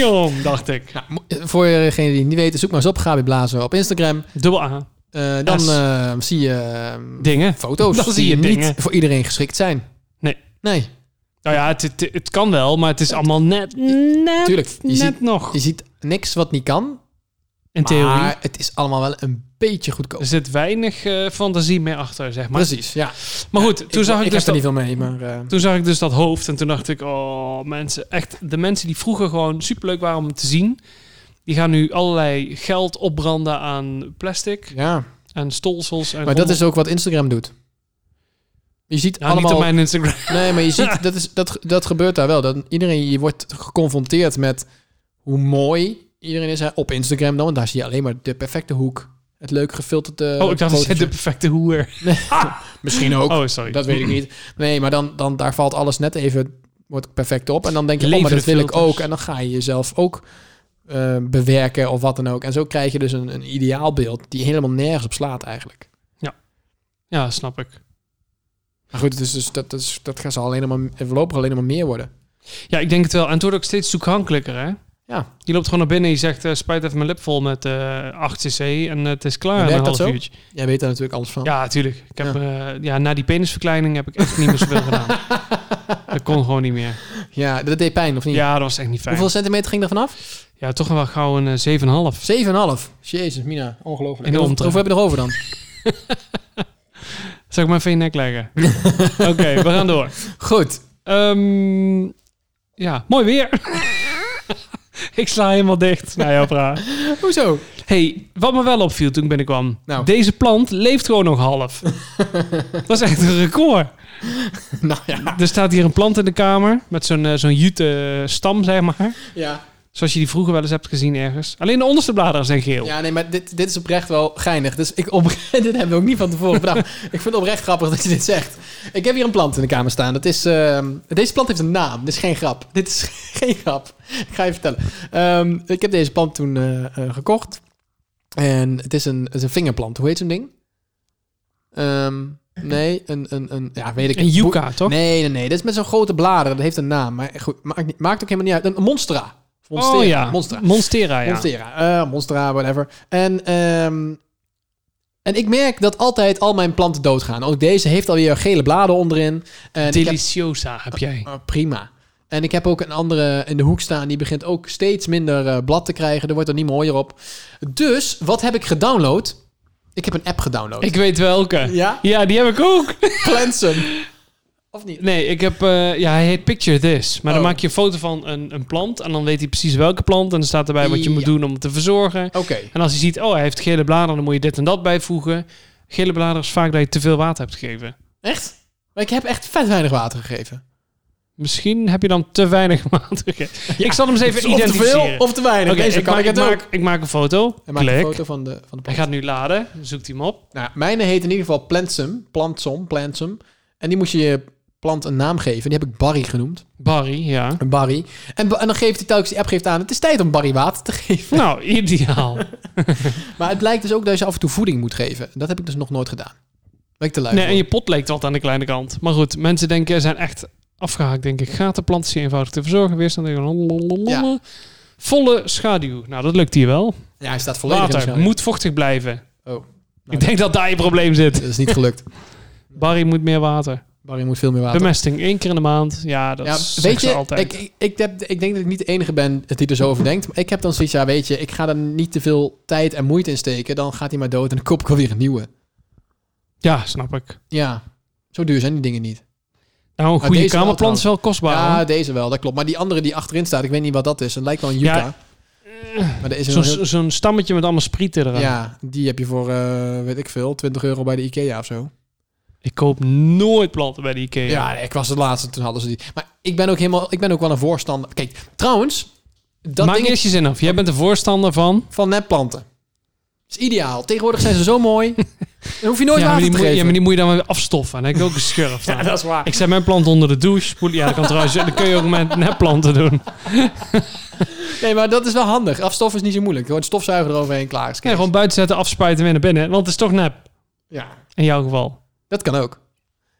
S2: damn, dacht ik.
S3: Mo- eh, Voor degenen die het niet weten, zoek maar eens op Gabi Blazer op Instagram.
S2: Dubbel A,
S3: Eh, dan
S2: Yes.
S3: eh, zie je eh,
S2: dingen.
S3: foto's
S2: Dan zie je
S3: die
S2: dingen.
S3: niet voor iedereen geschikt zijn.
S2: Nee.
S3: Nee,
S2: Nou ja, het, het, het kan wel, maar het is allemaal net, net,
S3: tuurlijk. Je
S2: net
S3: ziet-
S2: nog.
S3: je ziet niks wat niet kan.
S2: In theorie.
S3: Maar het is allemaal wel een beetje goedkoop.
S2: Er zit weinig eh, fantasie meer achter, zeg maar.
S3: Precies, ja.
S2: Maar goed, toen, zag ik
S3: ik
S2: dus
S3: heb er
S2: dat,
S3: niet veel mee, maar... eh,
S2: toen zag ik dus dat hoofd en toen dacht ik, oh mensen, echt de mensen die vroeger gewoon superleuk waren om te zien, die gaan nu allerlei geld opbranden aan plastic
S3: ja.
S2: en stolsels. En
S3: Maar dat is ook wat Instagram doet. Je ziet
S2: Nou,
S3: allemaal. eh,
S2: niet op mijn Instagram.
S3: Nee, maar je ziet dat, is, dat, dat gebeurt daar wel. Dat iedereen, je wordt geconfronteerd met hoe mooi iedereen is hè, op Instagram dan. Want daar zie je alleen maar de perfecte hoek. Het leuk gefilterde.
S2: oh, ik dacht, ik
S3: fotootje.
S2: zei de perfecte hoer.
S3: Misschien ook.
S2: Oh, sorry.
S3: Dat weet ik niet. Nee, maar dan, dan daar valt alles net even wordt perfect op. En dan denk je, oh, maar
S2: Levende
S3: dat wil ik
S2: filters.
S3: ook. En dan ga je jezelf ook eh, bewerken of wat dan ook. En zo krijg je dus een, een ideaalbeeld die helemaal nergens op slaat eigenlijk.
S2: Ja, snap ik.
S3: Maar goed, het is dus, dat, dat, is, dat gaat zal alleen maar, voorlopig alleen maar meer worden.
S2: Ja, ik denk het wel. En het wordt ook steeds toegankelijker, hè?
S3: Ja.
S2: Die loopt gewoon naar binnen en die zegt, eh, spuit even mijn lip vol met eh 8 cc en het is klaar
S3: Werkt
S2: in een
S3: dat
S2: half
S3: zo?
S2: uurtje.
S3: Jij weet daar natuurlijk alles van.
S2: Ja, tuurlijk. Ik heb, ja. ja, na die penisverkleining heb ik echt niet meer zoveel gedaan. Dat kon gewoon niet meer.
S3: Ja, dat deed pijn, of niet?
S2: Ja, dat was echt niet fijn.
S3: Hoeveel centimeter ging er vanaf?
S2: Ja, toch wel gauw een eh, 7,5.
S3: 7,5. Jezus, Mina. Ongelooflijk.
S2: In de
S3: Hoe-
S2: omtrek.
S3: Hoeveel heb je nog over dan?
S2: Zal ik maar even in je nek leggen? Oké, we gaan door.
S3: Goed.
S2: Ehm, ja, mooi weer. ik sla helemaal dicht. Nou ja, praat.
S3: Hoezo?
S2: hey, wat me wel opviel toen ik binnenkwam.
S3: Nou.
S2: Deze plant leeft gewoon nog half. dat is echt een record.
S3: nou ja.
S2: Er staat hier een plant in de kamer met zo'n eh, zo'n jute eh, stam, zeg maar.
S3: ja.
S2: Zoals je die vroeger wel eens hebt gezien ergens. Alleen de onderste bladeren zijn geel.
S3: Ja, nee, maar dit, dit is oprecht wel geinig. Dus ik op, dit hebben we ook niet van tevoren bedacht. ik vind het oprecht grappig dat je dit zegt. Ik heb hier een plant in de kamer staan. Dat is, ehm, deze plant heeft een naam. Dit is geen grap. Dit is geen grap. Ik ga je vertellen. Ehm, ik heb deze plant toen eh, eh, gekocht. En het is, een, het is een vingerplant. Hoe heet zo'n ding? Ehm, nee, een, een, een... Ja, weet ik
S2: Een
S3: niet.
S2: yucca, toch?
S3: Nee, nee, nee. Dit is met zo'n grote bladeren. Dat heeft een naam. Maar goed, maakt, niet- maakt ook helemaal niet uit. Een monstera. Monstera.
S2: Oh ja,
S3: Monstera.
S2: Monstera, ja.
S3: Monstera, eh, Monstera, whatever. En, ehm, en ik merk dat altijd al mijn planten doodgaan. Ook deze heeft alweer gele bladen onderin. En ik heb-
S2: Deliciosa heb jij.
S3: eh, prima. En ik heb ook een andere in de hoek staan. Die begint ook steeds minder eh, blad te krijgen. Er wordt er niet mooier op. Dus, wat heb ik gedownload? Ik heb een app gedownload.
S2: Ik weet welke.
S3: oh. Ja?
S2: Ja, die heb ik ook.
S3: Cleansen. Of niet?
S2: Nee, ik heb... eh, ja, hij heet Picture This. Maar dan
S3: Oh.
S2: maak je een foto van een, een plant. En dan weet hij precies welke plant. En dan staat erbij wat je moet
S3: Ja.
S2: doen om het te verzorgen.
S3: Oké.
S2: En als je ziet, oh, hij heeft gele bladeren. Dan moet je dit en dat bijvoegen. Gele bladeren is vaak dat je te veel water hebt gegeven.
S3: Echt? Maar ik heb echt vet weinig water gegeven.
S2: Misschien heb je dan te weinig water gegeven. ik zal hem eens even
S3: of te veel
S2: identificeren.
S3: of te weinig.
S2: Oké,
S3: Deze
S2: ik,
S3: kan
S2: maak-
S3: ik het
S2: ik
S3: ook.
S2: maak, ik maak een foto.
S3: En maak een
S2: Klik.
S3: foto van de, van de plant.
S2: Hij gaat nu laden. Zoekt hij hem op.
S3: Nou, mijne heet in ieder geval Plantsum. Plantsum, Plantsum. En die moest je je plant een naam geven. Die heb ik Barry genoemd.
S2: Barry, ja.
S3: Een Barry. En, ba- en dan geeft hij telkens die app geeft aan. Het is tijd om Barry water te geven.
S2: Nou, ideaal.
S3: Maar het blijkt dus ook dat je af en toe voeding moet geven. Dat heb ik dus nog nooit gedaan. Ben ik te lui
S2: Nee, en
S3: voor.
S2: je pot leek wat aan de kleine kant. Maar goed, mensen denken, zijn echt afgehaakt. Denk ik, gaat de plant zeer eenvoudig te verzorgen? Weer dan denk
S3: Ja.
S2: Volle schaduw. Nou, dat lukt hier wel.
S3: Ja, hij staat volledig in de
S2: Water
S3: schaduw.
S2: moet vochtig blijven.
S3: Oh,
S2: ik denk dat daar je probleem zit.
S3: dat is niet gelukt.
S2: Barry moet meer water.
S3: Barry moet veel meer water.
S2: Bemesting één keer in de maand. Ja, dat
S3: ja,
S2: is
S3: weet je,
S2: altijd.
S3: Ik, ik, ik, heb, ik denk dat ik niet de enige ben die er zo over denkt. Maar ik heb dan zoiets, ja weet je, ik ga er niet te veel tijd en moeite in steken. Dan gaat hij maar dood en dan koop ik alweer een nieuwe.
S2: ja, snap ik.
S3: Ja, zo duur zijn die dingen niet.
S2: Nou, een
S3: Maar
S2: goede
S3: deze wel
S2: kamerplant is wel kostbaar.
S3: Ja,
S2: hoor.
S3: deze wel, dat klopt. Maar die andere die achterin staat, ik weet niet wat dat is. Het lijkt wel een Utah.
S2: Ja.
S3: maar er is een
S2: Zo'n
S3: heel-
S2: zo'n stammetje met allemaal sprieten eraan.
S3: Ja, die heb je voor, eh, weet ik veel, 20 euro bij de Ikea of zo.
S2: Ik koop nooit planten bij de Ikea.
S3: Ja, nee, ik was de laatste, toen hadden ze die. Maar ik ben ook helemaal, ik ben ook wel een voorstander. Kijk, trouwens, dat
S2: Maak
S3: ding
S2: eerst je zin af. Jij bent de voorstander van...
S3: van nepplanten. is ideaal. Tegenwoordig zijn ze zo mooi. Dan hoef je nooit
S2: ja, maar
S3: water
S2: die
S3: te
S2: moet,
S3: geven.
S2: ja, maar die moet je dan weer afstoffen. En dan heb ik ook een schurft aan.
S3: dat is waar.
S2: Ik zet mijn plant onder de douche. Spoel- Ja, dat kan trouwens. Dat kun je ook met nepplanten doen.
S3: Nee, maar dat is wel handig. Afstoffen is niet zo moeilijk. Gewoon stofzuiger eroverheen, klaar is.
S2: Ja, gewoon buiten zetten, afspuiten, weer naar binnen. Want het is toch nep.
S3: Ja,
S2: In jouw geval.
S3: dat kan ook.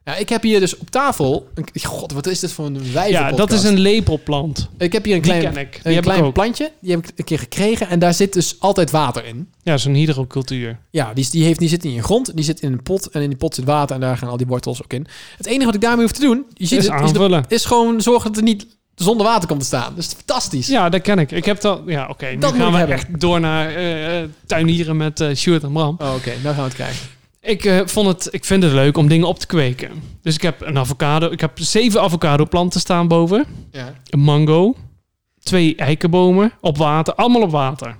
S3: Ja, ik heb hier dus op tafel... een- God, wat is dit voor een wijze
S2: Ja, dat is een lepelplant.
S3: Ik heb hier een
S2: Die
S3: klein,
S2: ken ik. Die
S3: een
S2: heb ik
S3: klein
S2: ook.
S3: plantje. Die heb ik een keer gekregen. En daar zit dus altijd water in.
S2: Ja, zo'n hydrocultuur.
S3: Ja, die, die, heeft, die zit niet in je grond. Die zit in een pot. En in die pot zit water. En daar gaan al die wortels ook in. Het enige wat ik daarmee hoef te doen... Je ziet
S2: Is
S3: het, is, de-
S2: aanvullen.
S3: is gewoon zorgen dat het niet zonder water komt te staan. Dat is fantastisch.
S2: Ja, dat ken ik. Ik heb dat... Ja, oké. nu
S3: Dat moet
S2: gaan
S3: ik
S2: we
S3: hebben.
S2: echt door naar eh eh, tuinieren met eh Stuart en Bram.
S3: Oh, Oké, nou gaan we het krijgen.
S2: Ik, eh, vond het, ik vind het leuk om dingen op te kweken. Dus ik heb een avocado. Ik heb zeven avocado planten staan boven.
S3: Ja.
S2: Een mango. Twee eikenbomen. Op water. Allemaal op water.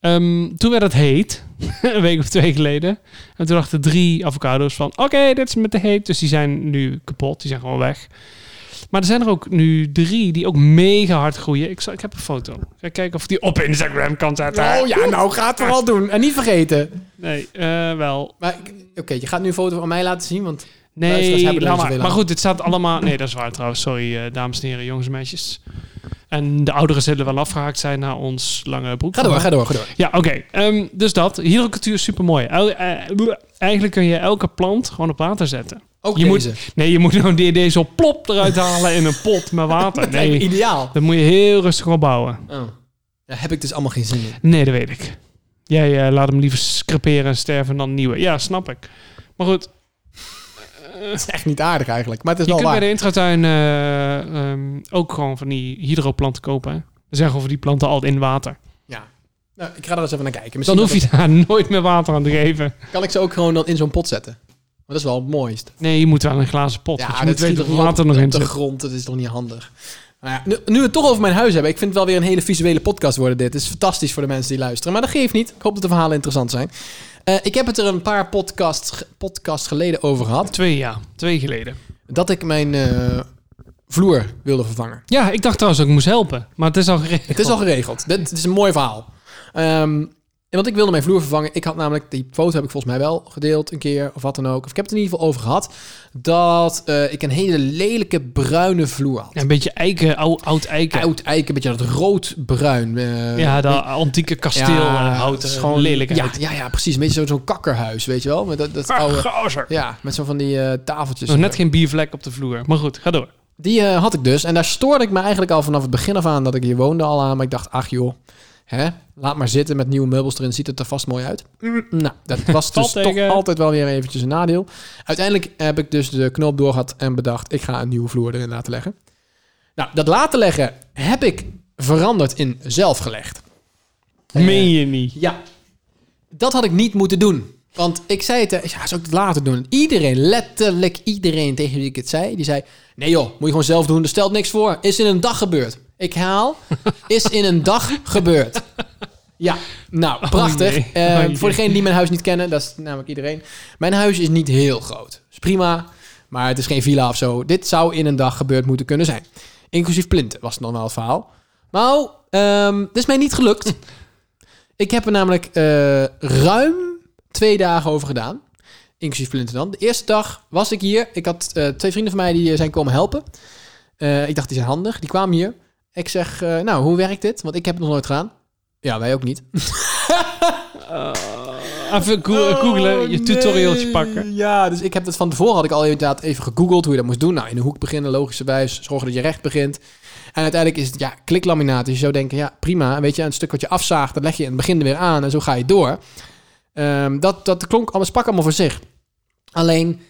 S2: Ehm, toen werd het heet. een week of twee geleden. En toen dachten drie avocado's van... Oké, dit is met de heet. Dus die zijn nu kapot. Die zijn gewoon weg. Maar er zijn er ook nu drie die ook mega hard groeien. Ik, zal, ik heb een foto. Ik ga kijken of ik die op Instagram kan zetten.
S3: Oh ja, nou ga het vooral doen. En niet vergeten.
S2: Nee, eh, wel.
S3: Maar ik- oké, je gaat nu een foto van mij laten zien, want... Luisteraars
S2: Nee,
S3: hebben er
S2: laat
S3: niet
S2: maar.
S3: zoveel
S2: maar
S3: aan.
S2: goed, dit staat allemaal... Nee, dat is waar trouwens. Sorry, eh, dames en heren, jongens en meisjes. En de ouderen zullen wel afgehaakt zijn na ons lange broek.
S3: Ga door, ga door, ga door.
S2: Ja, oké. Ehm, dus dat. Hydrocultuur is supermooi. El- eh, bleh. eigenlijk kun je elke plant gewoon op water zetten.
S3: Ook
S2: je
S3: deze.
S2: Moet, nee, je moet nou die- deze op plop eruit halen in een pot met water.
S3: Lijkt me
S2: Nee,
S3: ideaal.
S2: dat moet je heel rustig opbouwen.
S3: Oh. Daar heb ik dus allemaal geen zin in.
S2: Nee, dat weet ik. Jij eh, laat hem liever scraperen en sterven dan nieuwe. Ja, snap ik. Maar goed,
S3: Dat is echt niet aardig eigenlijk, maar het is
S2: Je
S3: wel
S2: kunt bij
S3: waar.
S2: de intratuin eh, ehm, ook gewoon van die hydroplanten kopen. hè. Er zijn gewoon van die planten altijd in water.
S3: Ja. Nou, ik ga er eens even naar kijken.
S2: Dan
S3: Misschien
S2: hoef je daar nooit meer water aan te geven.
S3: kan ik ze ook gewoon dan in zo'n pot zetten. Maar dat is wel het mooist.
S2: Nee, je moet wel een glazen pot. want je moet
S3: schiet
S2: weten
S3: toch
S2: hoeveel water
S3: op
S2: nog in
S3: de
S2: zit.
S3: grond, dat is toch niet handig. Nou ja, nu, nu we het toch over mijn huis hebben, ik vind het wel weer een hele visuele podcast worden dit. Het is fantastisch voor de mensen die luisteren, maar dat geeft niet. Ik hoop dat de verhalen interessant zijn. Eh, ik heb het er een paar podcasts, podcasts geleden over gehad,
S2: Twee jaar, twee geleden.
S3: dat ik mijn eh, vloer wilde vervangen.
S2: Ja, ik dacht trouwens dat ik moest helpen. Maar het is al geregeld.
S3: Het is al geregeld. Dit, dit is een mooi verhaal. Ehm, en want ik wilde mijn vloer vervangen. Ik had namelijk, die foto heb ik volgens mij wel gedeeld een keer of wat dan ook. Of ik heb het in ieder geval over gehad. Dat eh, ik een hele lelijke bruine vloer had.
S2: Ja, een beetje eiken, ou- oud eiken.
S3: Oud eiken, een beetje dat roodbruin. eh. bruin
S2: ja, dat antieke kasteel en hout. Is gewoon lelijk
S3: Ja,
S2: uit.
S3: ja, ja, precies. Een beetje zo- zo'n kakkerhuis, weet je wel. Met dat, dat
S2: Ah,
S3: oude,
S2: gozer.
S3: ja, met zo van die eh, tafeltjes.
S2: Nog net geen biervlek op de vloer. Maar goed, ga door.
S3: Die eh, had ik dus. En daar stoorde ik me eigenlijk al vanaf het begin af aan dat ik hier woonde al aan. Maar ik dacht, ach joh, hè, laat maar zitten met nieuwe meubels erin. Ziet het er vast mooi uit. Mm, nou, dat was dus
S2: Valt
S3: toch
S2: tegen.
S3: altijd wel weer eventjes een nadeel. Uiteindelijk heb ik dus de knoop doorgehad en bedacht, ik ga een nieuwe vloer erin laten leggen. Nou, dat laten leggen heb ik veranderd in zelf gelegd.
S2: Meen je niet.
S3: Ja. Dat had ik niet moeten doen. Want ik zei het, eh, ik zei, ja, zou ik het later doen? Iedereen, letterlijk iedereen tegen wie ik het zei, die zei... Nee joh, moet je gewoon zelf doen, er stelt niks voor. Is in een dag gebeurd. Ik haal, is in een dag gebeurd. Ja, nou, prachtig.
S2: nee.
S3: Eh,
S2: Oh, jee.
S3: voor degenen die mijn huis niet kennen, dat is namelijk iedereen. Mijn huis is niet heel groot. Is prima, maar het is geen villa of zo. Dit zou in een dag gebeurd moeten kunnen zijn. Inclusief plinten was het normaal het verhaal. Nou, ehm dat is mij niet gelukt. Ik heb er namelijk eh, ruim twee dagen over gedaan. Inclusief Flinten dan. De eerste dag was ik hier. Ik had eh, twee vrienden van mij die eh, zijn komen helpen. Eh, ik dacht, die zijn handig. Die kwamen hier. Ik zeg, eh, nou, hoe werkt dit? Want ik heb het nog nooit gedaan. Ja, wij ook niet.
S2: Even go- googlen, je tutorialtje pakken.
S3: Oh, Ja, dus ik heb het van tevoren had ik al inderdaad even gegoogeld hoe je dat moest doen. Nou, in de hoek beginnen, logischerwijs. Zorgen dat je recht begint. En uiteindelijk is het, ja, kliklaminaat. Dus je zou denken, ja, prima. En weet je, een stuk wat je afzaagt, dat leg je in het begin er weer aan. En zo ga je door. Ehm, dat, dat klonk allemaal, sprak allemaal voor zich. Alleen,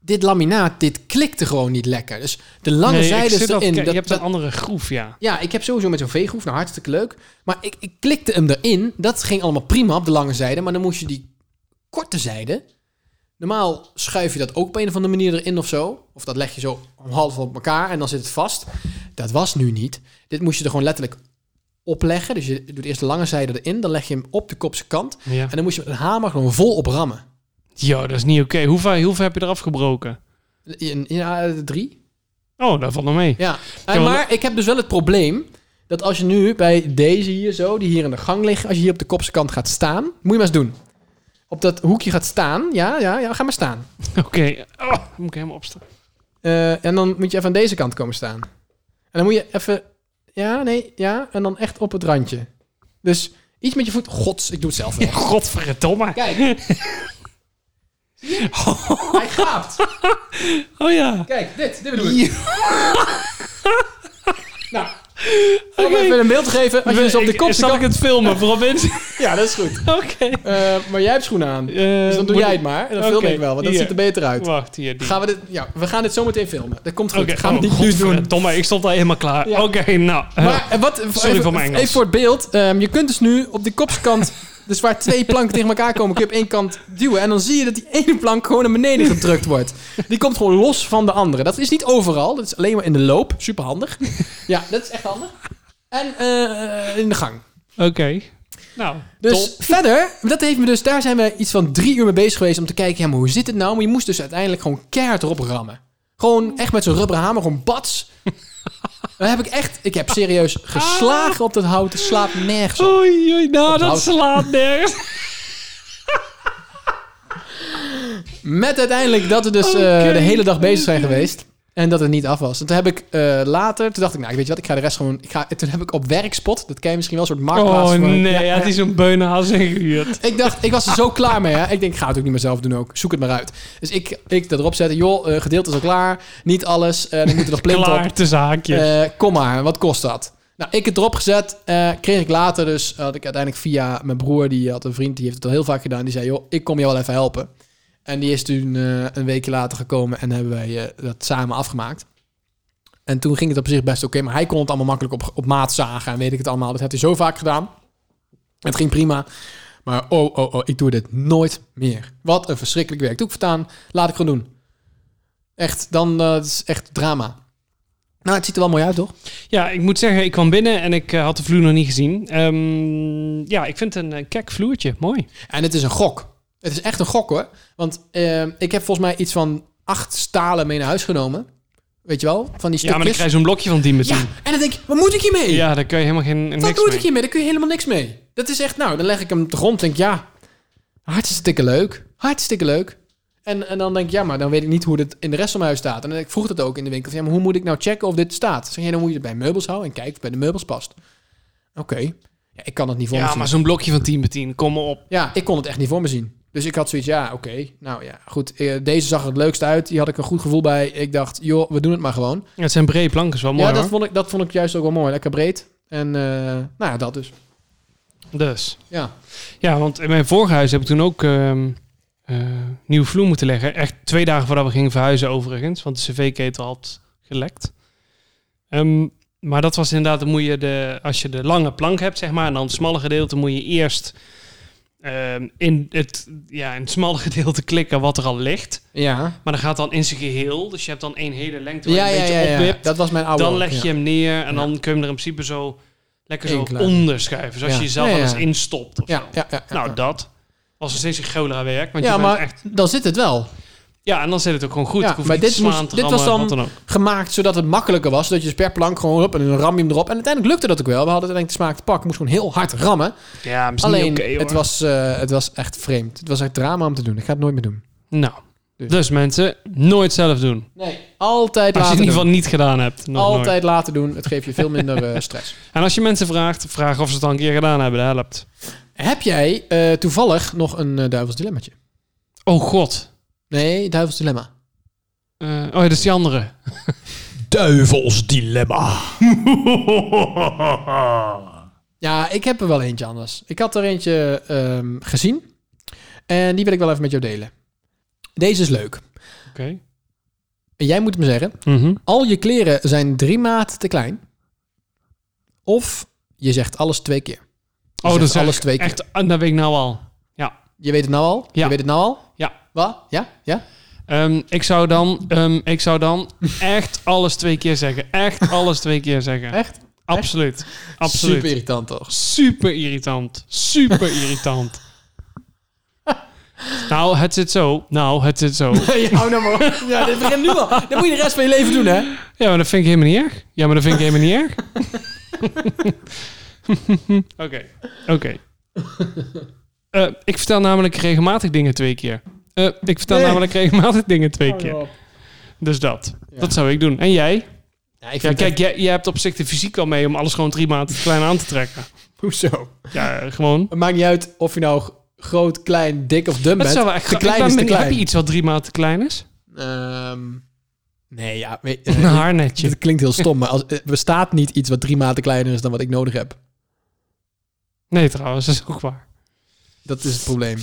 S3: dit laminaat, dit klikte gewoon niet lekker. Dus de lange
S2: Nee, ik
S3: zijde
S2: zit
S3: erin.
S2: al te kijken.
S3: dat-
S2: je hebt
S3: dat-
S2: een andere groef, ja.
S3: ja, ik heb sowieso met zo'n veegroef, nou hartstikke leuk. Maar ik, ik klikte hem erin. Dat ging allemaal prima op de lange zijde. Maar dan moest je die korte zijde... Normaal schuif je dat ook op een of andere manier erin of zo. Of dat leg je zo half op elkaar en dan zit het vast. Dat was nu niet. Dit moest je er gewoon letterlijk opleggen. Dus je doet eerst de lange zijde erin. Dan leg je hem op de kopse kant.
S2: ja.
S3: En dan moest je met een hamer gewoon vol op rammen.
S2: Yo, dat is niet oké. Hoe, ver, hoe ver heb je eraf gebroken?
S3: In, in, eh, drie?
S2: Oh, daar valt nog mee.
S3: Ja,
S2: Ja,
S3: en
S2: want-
S3: maar ik heb dus wel het probleem dat als je nu bij deze hier zo, die hier in de gang liggen, als je hier op de kopse kant gaat staan, moet je maar eens doen. Op dat hoekje gaat staan, ja, ja, ja, ga maar staan.
S2: Oké. Oh, dan moet ik helemaal opstaan.
S3: Eh, en dan moet je even aan deze kant komen staan. En dan moet je even, ja, nee, ja, en dan echt op het randje. Dus iets met je voet, gods, ik doe het zelf wel.
S2: Godverdomme.
S3: Kijk. Zie je? Hij gaapt.
S2: Oh ja.
S3: Kijk, dit, dit bedoel ik. nou, om even een beeld te geven, als je dus op de
S2: Ik-
S3: kopse
S2: Zal ik
S3: kant...
S2: het filmen vooral mensen?
S3: Ja, dat is goed.
S2: Oké.
S3: Eh, maar jij hebt schoenen aan.
S2: Eh,
S3: dus dan doe
S2: moet-
S3: jij het maar. En dan
S2: Oké,
S3: film ik wel, want dat
S2: hier.
S3: ziet er beter uit.
S2: Wacht, hier. Die.
S3: Gaan we, dit, ja, we gaan dit zo meteen filmen. Dat komt goed.
S2: Oké,
S3: gaan we
S2: oh,
S3: dit nu doen.
S2: godverdomme, ik stond al helemaal klaar.
S3: Ja.
S2: Oké, nou. eh,
S3: Maar eh, wat,
S2: Sorry
S3: even,
S2: voor mijn Engels.
S3: even voor het beeld. Ehm, je kunt dus nu op de kopskant, dus waar twee planken tegen elkaar komen, kun je op één kant duwen. En dan zie je dat die ene plank gewoon naar beneden gedrukt wordt. Die komt gewoon los van de andere. Dat is niet overal. Dat is alleen maar in de loop. Super handig. Ja, dat is echt handig. En eh, in de gang.
S2: Oké. Nou,
S3: Dus
S2: top.
S3: verder, dat heeft me dus, daar zijn we iets van drie uur mee bezig geweest om te kijken, ja, maar hoe zit het nou? Maar je moest dus uiteindelijk gewoon keihard erop rammen. Gewoon echt met zo'n rubberen hamer, gewoon bats. Dan heb ik echt, ik heb serieus geslagen op dat hout, het slaat nergens op.
S2: Oei, oei, nou, dat
S3: Onthoud.
S2: slaat nergens.
S3: Met uiteindelijk dat we dus eh,
S2: Oké,
S3: de hele dag bezig zijn
S2: oké.
S3: geweest. En dat het niet af was. En toen heb ik eh, later, toen dacht ik, nou, ik weet je wat, ik ga de rest gewoon, ik ga, en toen heb ik op werkspot, dat ken je misschien wel, een soort marktplaats.
S2: Oh
S3: voor-
S2: nee,
S3: Ja,
S2: ja,
S3: ja.
S2: het is een beunenhaas ingehuurd.
S3: Ik dacht, ik was er zo klaar mee. Hè? Ik denk, ik ga het ook niet meer zelf doen ook. Zoek het maar uit. Dus ik, ik dat erop zetten. Joh, eh gedeelte is al klaar. Niet alles. eh dan moet er nog plint op.
S2: Klaar te zaakje.
S3: Eh, kom maar, wat kost dat? Nou, ik het erop gezet. eh, kreeg ik later dus, had ik uiteindelijk via mijn broer, die had een vriend, die heeft het al heel vaak gedaan. Die zei, joh, ik kom jou wel even helpen. En die is toen eh, een weekje later gekomen en hebben wij eh, dat samen afgemaakt. En toen ging het op zich best oké, maar hij kon het allemaal makkelijk op, op maat zagen en weet ik het allemaal. Dat heeft hij zo vaak gedaan. Het ging prima. Maar oh, oh, oh, ik doe dit nooit meer. Wat een verschrikkelijk werk. Doe ik vertaan, laat ik gewoon doen. Echt, dan eh, het is echt drama. Nou, het ziet er wel mooi uit, toch?
S2: Ja, ik moet zeggen, ik kwam binnen en ik eh, had de vloer nog niet gezien. Ehm, ja, ik vind het een eh, kek vloertje. Mooi.
S3: En het is een gok. Het is echt een gok hoor. Want eh, ik heb volgens mij iets van acht stalen mee naar huis genomen. Weet je wel? Van die
S2: Ja,
S3: stukjes.
S2: maar dan krijg je zo'n blokje van die
S3: Ja,
S2: meteen.
S3: en dan denk ik, wat moet ik hiermee?
S2: Ja, daar kun je helemaal geen niks
S3: wat moet
S2: mee.
S3: ik hiermee? Daar kun je helemaal niks mee. Dat is echt, nou, dan leg ik hem op de grond. Denk ja, hartstikke leuk. Hartstikke leuk. En, en dan denk ik, ja, maar dan weet ik niet hoe dit in de rest van mijn huis staat. En ik vroeg dat ook in de winkel. Van, ja, maar hoe moet ik nou checken of dit staat? Zeg je, dan moet je het bij meubels houden en kijken of het bij de meubels past. Oké. Ja, ik kan het niet voor me
S2: Ja,
S3: zien.
S2: maar zo'n blokje van 10 bij 10, kom maar op.
S3: Ja, ik kon het echt niet voor me zien. Dus ik had zoiets, ja, oké. Nou ja, goed. Eh, Deze zag er het leukst uit. Die had ik een goed gevoel bij. Ik dacht, joh, we doen het maar gewoon.
S2: Ja, het zijn brede planken, is wel mooi
S3: ja, dat
S2: hoor.
S3: vond, ik, dat vond ik juist ook wel mooi. Lekker breed. En eh, nou ja, dat dus.
S2: Dus.
S3: Ja.
S2: Ja, want in mijn vorige huis heb ik toen ook ehm eh, nieuwe vloer moeten leggen. Echt twee dagen voordat we gingen verhuizen overigens. Want de cv-ketel had gelekt. Ehm, maar dat was inderdaad, dan moet je de, als je de lange plank hebt, zeg maar, en dan het smalle gedeelte, moet je eerst ehm, in, het, ja, in het smalle gedeelte klikken wat er al ligt.
S3: Ja,
S2: Maar dat gaat dan in zijn geheel. Dus je hebt dan één hele lengte waar
S3: ja,
S2: je
S3: ja,
S2: een beetje
S3: ja, ja.
S2: opwipt.
S3: Dat was mijn oude.
S2: Dan leg je
S3: Ja.
S2: hem neer en
S3: Ja.
S2: dan kun je hem er in principe zo lekker zo
S3: Inklaar.
S2: onderschuiven. Zoals
S3: Ja.
S2: je jezelf
S3: Ja,
S2: wel
S3: ja.
S2: eens instopt of
S3: Ja,
S2: zo.
S3: ja, ja, ja.
S2: Nou, dat was nog steeds een gola werk. Want
S3: ja,
S2: je bent
S3: maar
S2: echt...
S3: dan zit het wel.
S2: ja, en dan zit het ook gewoon goed.
S3: Ja,
S2: Ik hoef
S3: maar
S2: niet te
S3: dit moest-
S2: slaan, te
S3: dit was
S2: rammen,
S3: dan-
S2: wat ook.
S3: Gemaakt zodat het makkelijker was. Dat je dus per plank gewoon op en dan ram je hem erop. En uiteindelijk lukte dat ook wel. We hadden uiteindelijk de smaak te pakken. Moest gewoon heel hard rammen.
S2: Ja, misschien
S3: Alleen,
S2: niet oké hoor.
S3: het, was, eh, het was echt vreemd. Het was echt drama om te doen. Ik ga het nooit meer doen.
S2: Nou, dus.
S3: Dus.
S2: mensen, nooit zelf doen.
S3: Nee, altijd
S2: Als je
S3: laten
S2: het in ieder
S3: doen.
S2: geval niet gedaan hebt. Nog
S3: Altijd
S2: nooit.
S3: laten doen. Het geeft je veel minder eh, stress.
S2: En als je mensen vraagt, vraag of ze het al een keer gedaan hebben. Dat helpt.
S3: Heb jij eh, toevallig nog een eh, duivels dilemmaatje?
S2: Oh god.
S3: Nee, duivels dilemma.
S2: Eh, oh ja, dat is die andere.
S3: Duivels dilemma. ja, ik heb er wel eentje anders. Ik had er eentje ehm, gezien. En die wil ik wel even met jou delen. Deze is leuk.
S2: Oké.
S3: en jij moet me zeggen,
S2: Mhm.
S3: al je kleren zijn drie maten te klein. Of je zegt alles twee keer. Je
S2: Oh, dat
S3: zegt
S2: is
S3: alles
S2: alles
S3: twee keer.
S2: Echt, ah, dat weet ik nou al. Ja.
S3: Je weet het nou al?
S2: Ja.
S3: Je weet het nou al?
S2: Ja.
S3: Wat? Ja? Ja?
S2: Ehm, ik, zou dan, ehm, ik zou dan echt alles twee keer zeggen. Echt alles twee keer zeggen.
S3: Echt?
S2: Absoluut. Absoluut.
S3: Super
S2: Super,
S3: irritant toch?
S2: irritant. Super irritant. nou, het zit zo. Nou, het zit zo.
S3: Hey, hou nou maar op. Ja, dit begint nu al. Dat moet je de rest van je leven doen, hè?
S2: Ja, maar dat vind ik helemaal niet erg. Ja, maar dat vind ik helemaal niet erg. Oké. Oké. Eh, ik vertel namelijk regelmatig dingen twee keer. Eh, ik vertel
S3: Nee. Oh,
S2: namelijk regelmatig dingen twee keer. Dus dat.
S3: Ja.
S2: Dat zou ik doen. En jij?
S3: Ja, ik
S2: Ja,
S3: vind
S2: kijk, jij, jij hebt op zich de fysiek al mee om alles gewoon drie maanden klein aan te trekken.
S3: hoezo?
S2: Ja, eh, gewoon.
S3: Het maakt niet uit of je nou g- groot, klein, dik of dun
S2: Dat
S3: bent.
S2: zou wel echt
S3: te
S2: gra- ik
S3: klein
S2: ben
S3: is te
S2: benieuwd,
S3: klein.
S2: Heb je iets wat drie maanden te klein is?
S3: Ehm, nee, ja. weet- eh,
S2: Een haarnetje.
S3: dit klinkt heel stom, maar als, eh, bestaat niet iets wat drie maten kleiner is dan wat ik nodig heb.
S2: Nee, trouwens, dat is ook waar.
S3: Dat is het probleem.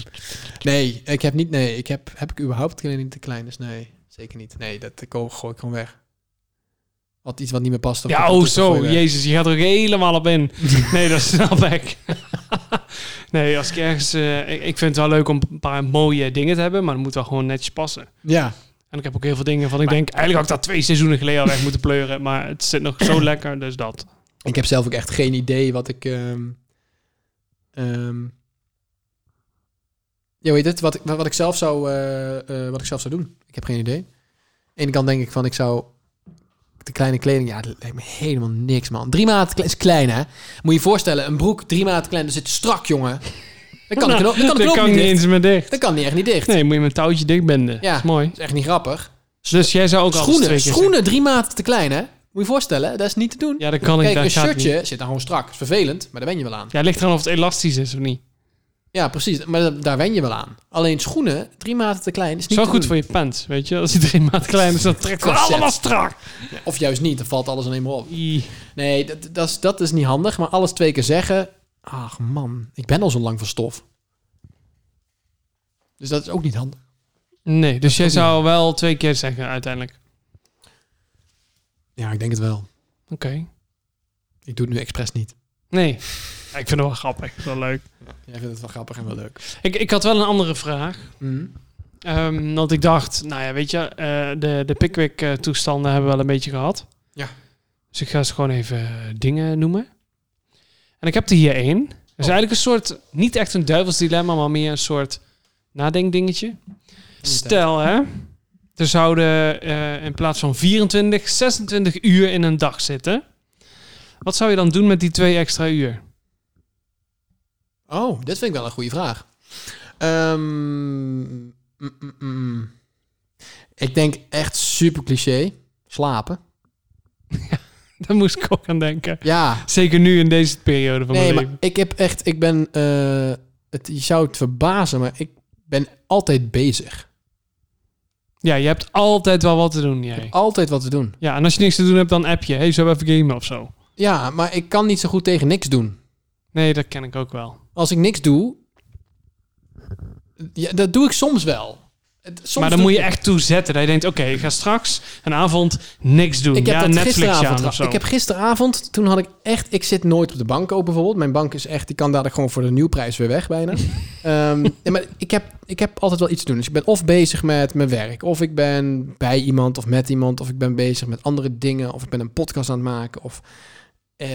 S3: Nee, ik heb niet. Nee, ik heb, heb ik überhaupt kleding die te klein is? Nee, zeker niet. Nee, dat ko- gooi ik gewoon weg. Want iets wat niet meer past. dan
S2: Ja,
S3: gooi ik
S2: oh
S3: het gewoon
S2: zo.
S3: weg.
S2: Jezus, je gaat er ook helemaal op in. Nee, dat snap ik. nee, als ik ergens... eh, ik, ik vind het wel leuk om een paar mooie dingen te hebben, maar dat moet wel gewoon netjes passen.
S3: Ja,
S2: En ik heb ook heel veel dingen van, ik denk, eigenlijk had ik dat twee seizoenen geleden al weg moeten pleuren, maar het zit nog zo lekker, dus dat.
S3: ik heb zelf ook echt geen idee wat ik. ehm ehm, ja, weet je het? Wat, ik- wat ik zelf zou, eh, eh, wat ik zelf zou doen. Ik heb geen idee. Aan de ene kant denk ik van, ik zou de kleine kleding, ja, dat lijkt me helemaal niks, man. Drie maten kle- is klein, hè? Moet je je voorstellen, een broek drie maten klein, dat zit strak, jongen. Dan kan ik de knoop, dan kan de
S2: dat
S3: knoop
S2: kan
S3: niet
S2: niet
S3: dicht.
S2: eens meer dicht.
S3: Dat kan niet echt niet dicht.
S2: Nee, moet je met een touwtje dichtbinden.
S3: Ja.
S2: Dat is mooi.
S3: Dat is echt niet grappig.
S2: Dus jij zou ook alles twee
S3: Schoenen,
S2: keer
S3: schoenen drie maten te klein, hè? Moet je je voorstellen, dat is niet te doen.
S2: zeggen. Ja, dat kan ik.
S3: Kijk,
S2: dat
S3: een
S2: gaat
S3: shirtje
S2: niet.
S3: zit dan gewoon strak. is vervelend, maar daar wen je wel aan.
S2: Ja, ligt eraan of het elastisch is of niet.
S3: Ja, precies. Maar da- daar wen je wel aan. Alleen schoenen, drie maten te klein, is niet
S2: Zo
S3: te
S2: goed
S3: doen.
S2: voor je pants, weet je. Als iedereen maat klein is, dan trekt het
S3: Concept.
S2: allemaal strak.
S3: Of juist niet, dan valt alles alleen maar op.
S2: Ie.
S3: Nee, dat, dat, is, dat is niet handig. Maar alles twee keer zeggen... Ach man, ik ben al zo lang van stof. Dus dat is ook niet handig.
S2: Nee, dus jij zou wel twee keer zeggen uiteindelijk.
S3: Ja, ik denk het wel.
S2: Oké.
S3: Ik doe het nu expres niet.
S2: Nee. Ja, ik vind het wel grappig, wel leuk.
S3: Jij vindt het wel grappig en wel leuk.
S2: Ik, ik had wel een andere vraag.
S3: Mhm.
S2: Ehm, want ik dacht, nou ja, weet je, eh, de, de Pickwick-toestanden hebben we wel een beetje gehad.
S3: Ja.
S2: Dus ik ga ze gewoon even eh, dingen noemen. En ik heb er hier één. Dat is
S3: Oh.
S2: eigenlijk een soort, niet echt een duivels dilemma, maar meer een soort nadenkdingetje. Stel, hè, er zouden eh, in plaats van 24, 26 uur in een dag zitten. Wat zou je dan doen met die twee extra uur?
S3: Oh, dit vind ik wel een goede vraag. Ehm, mm, mm, mm. Ik denk echt super cliché. Slapen.
S2: Daar moest ik ook aan denken.
S3: Ja.
S2: Zeker nu in deze periode van
S3: Nee,
S2: mijn
S3: maar
S2: leven.
S3: ik heb echt... Ik ben... eh, het, je zou het verbazen, maar ik ben altijd bezig.
S2: Ja, je hebt altijd wel wat te doen, jij.
S3: Altijd wat te doen.
S2: Ja, en als je niks te doen hebt, dan app je. hey, zo even gamen of zo.
S3: Ja, maar ik kan niet zo goed tegen niks doen.
S2: Nee, dat ken ik ook wel.
S3: Als ik niks doe... Ja, dat doe ik soms wel. Het- Soms
S2: maar dan
S3: doe
S2: moet
S3: ik-
S2: je echt toezetten. Dat je denkt, oké, ik ga straks een avond niks doen.
S3: Ik heb
S2: ja,
S3: dat
S2: Netflix
S3: gisteravond.
S2: aan
S3: tra-
S2: of zo.
S3: Ik heb gisteravond, toen had ik echt, ik zit nooit op de bank ook bijvoorbeeld. Mijn bank is echt, die kan dadelijk gewoon voor de nieuwprijs weer weg bijna. Ehm, nee, maar ik heb, ik heb altijd wel iets te doen. Dus ik ben of bezig met mijn werk, of ik ben bij iemand of met iemand, of ik ben bezig met andere dingen, of ik ben een podcast aan het maken, of eh,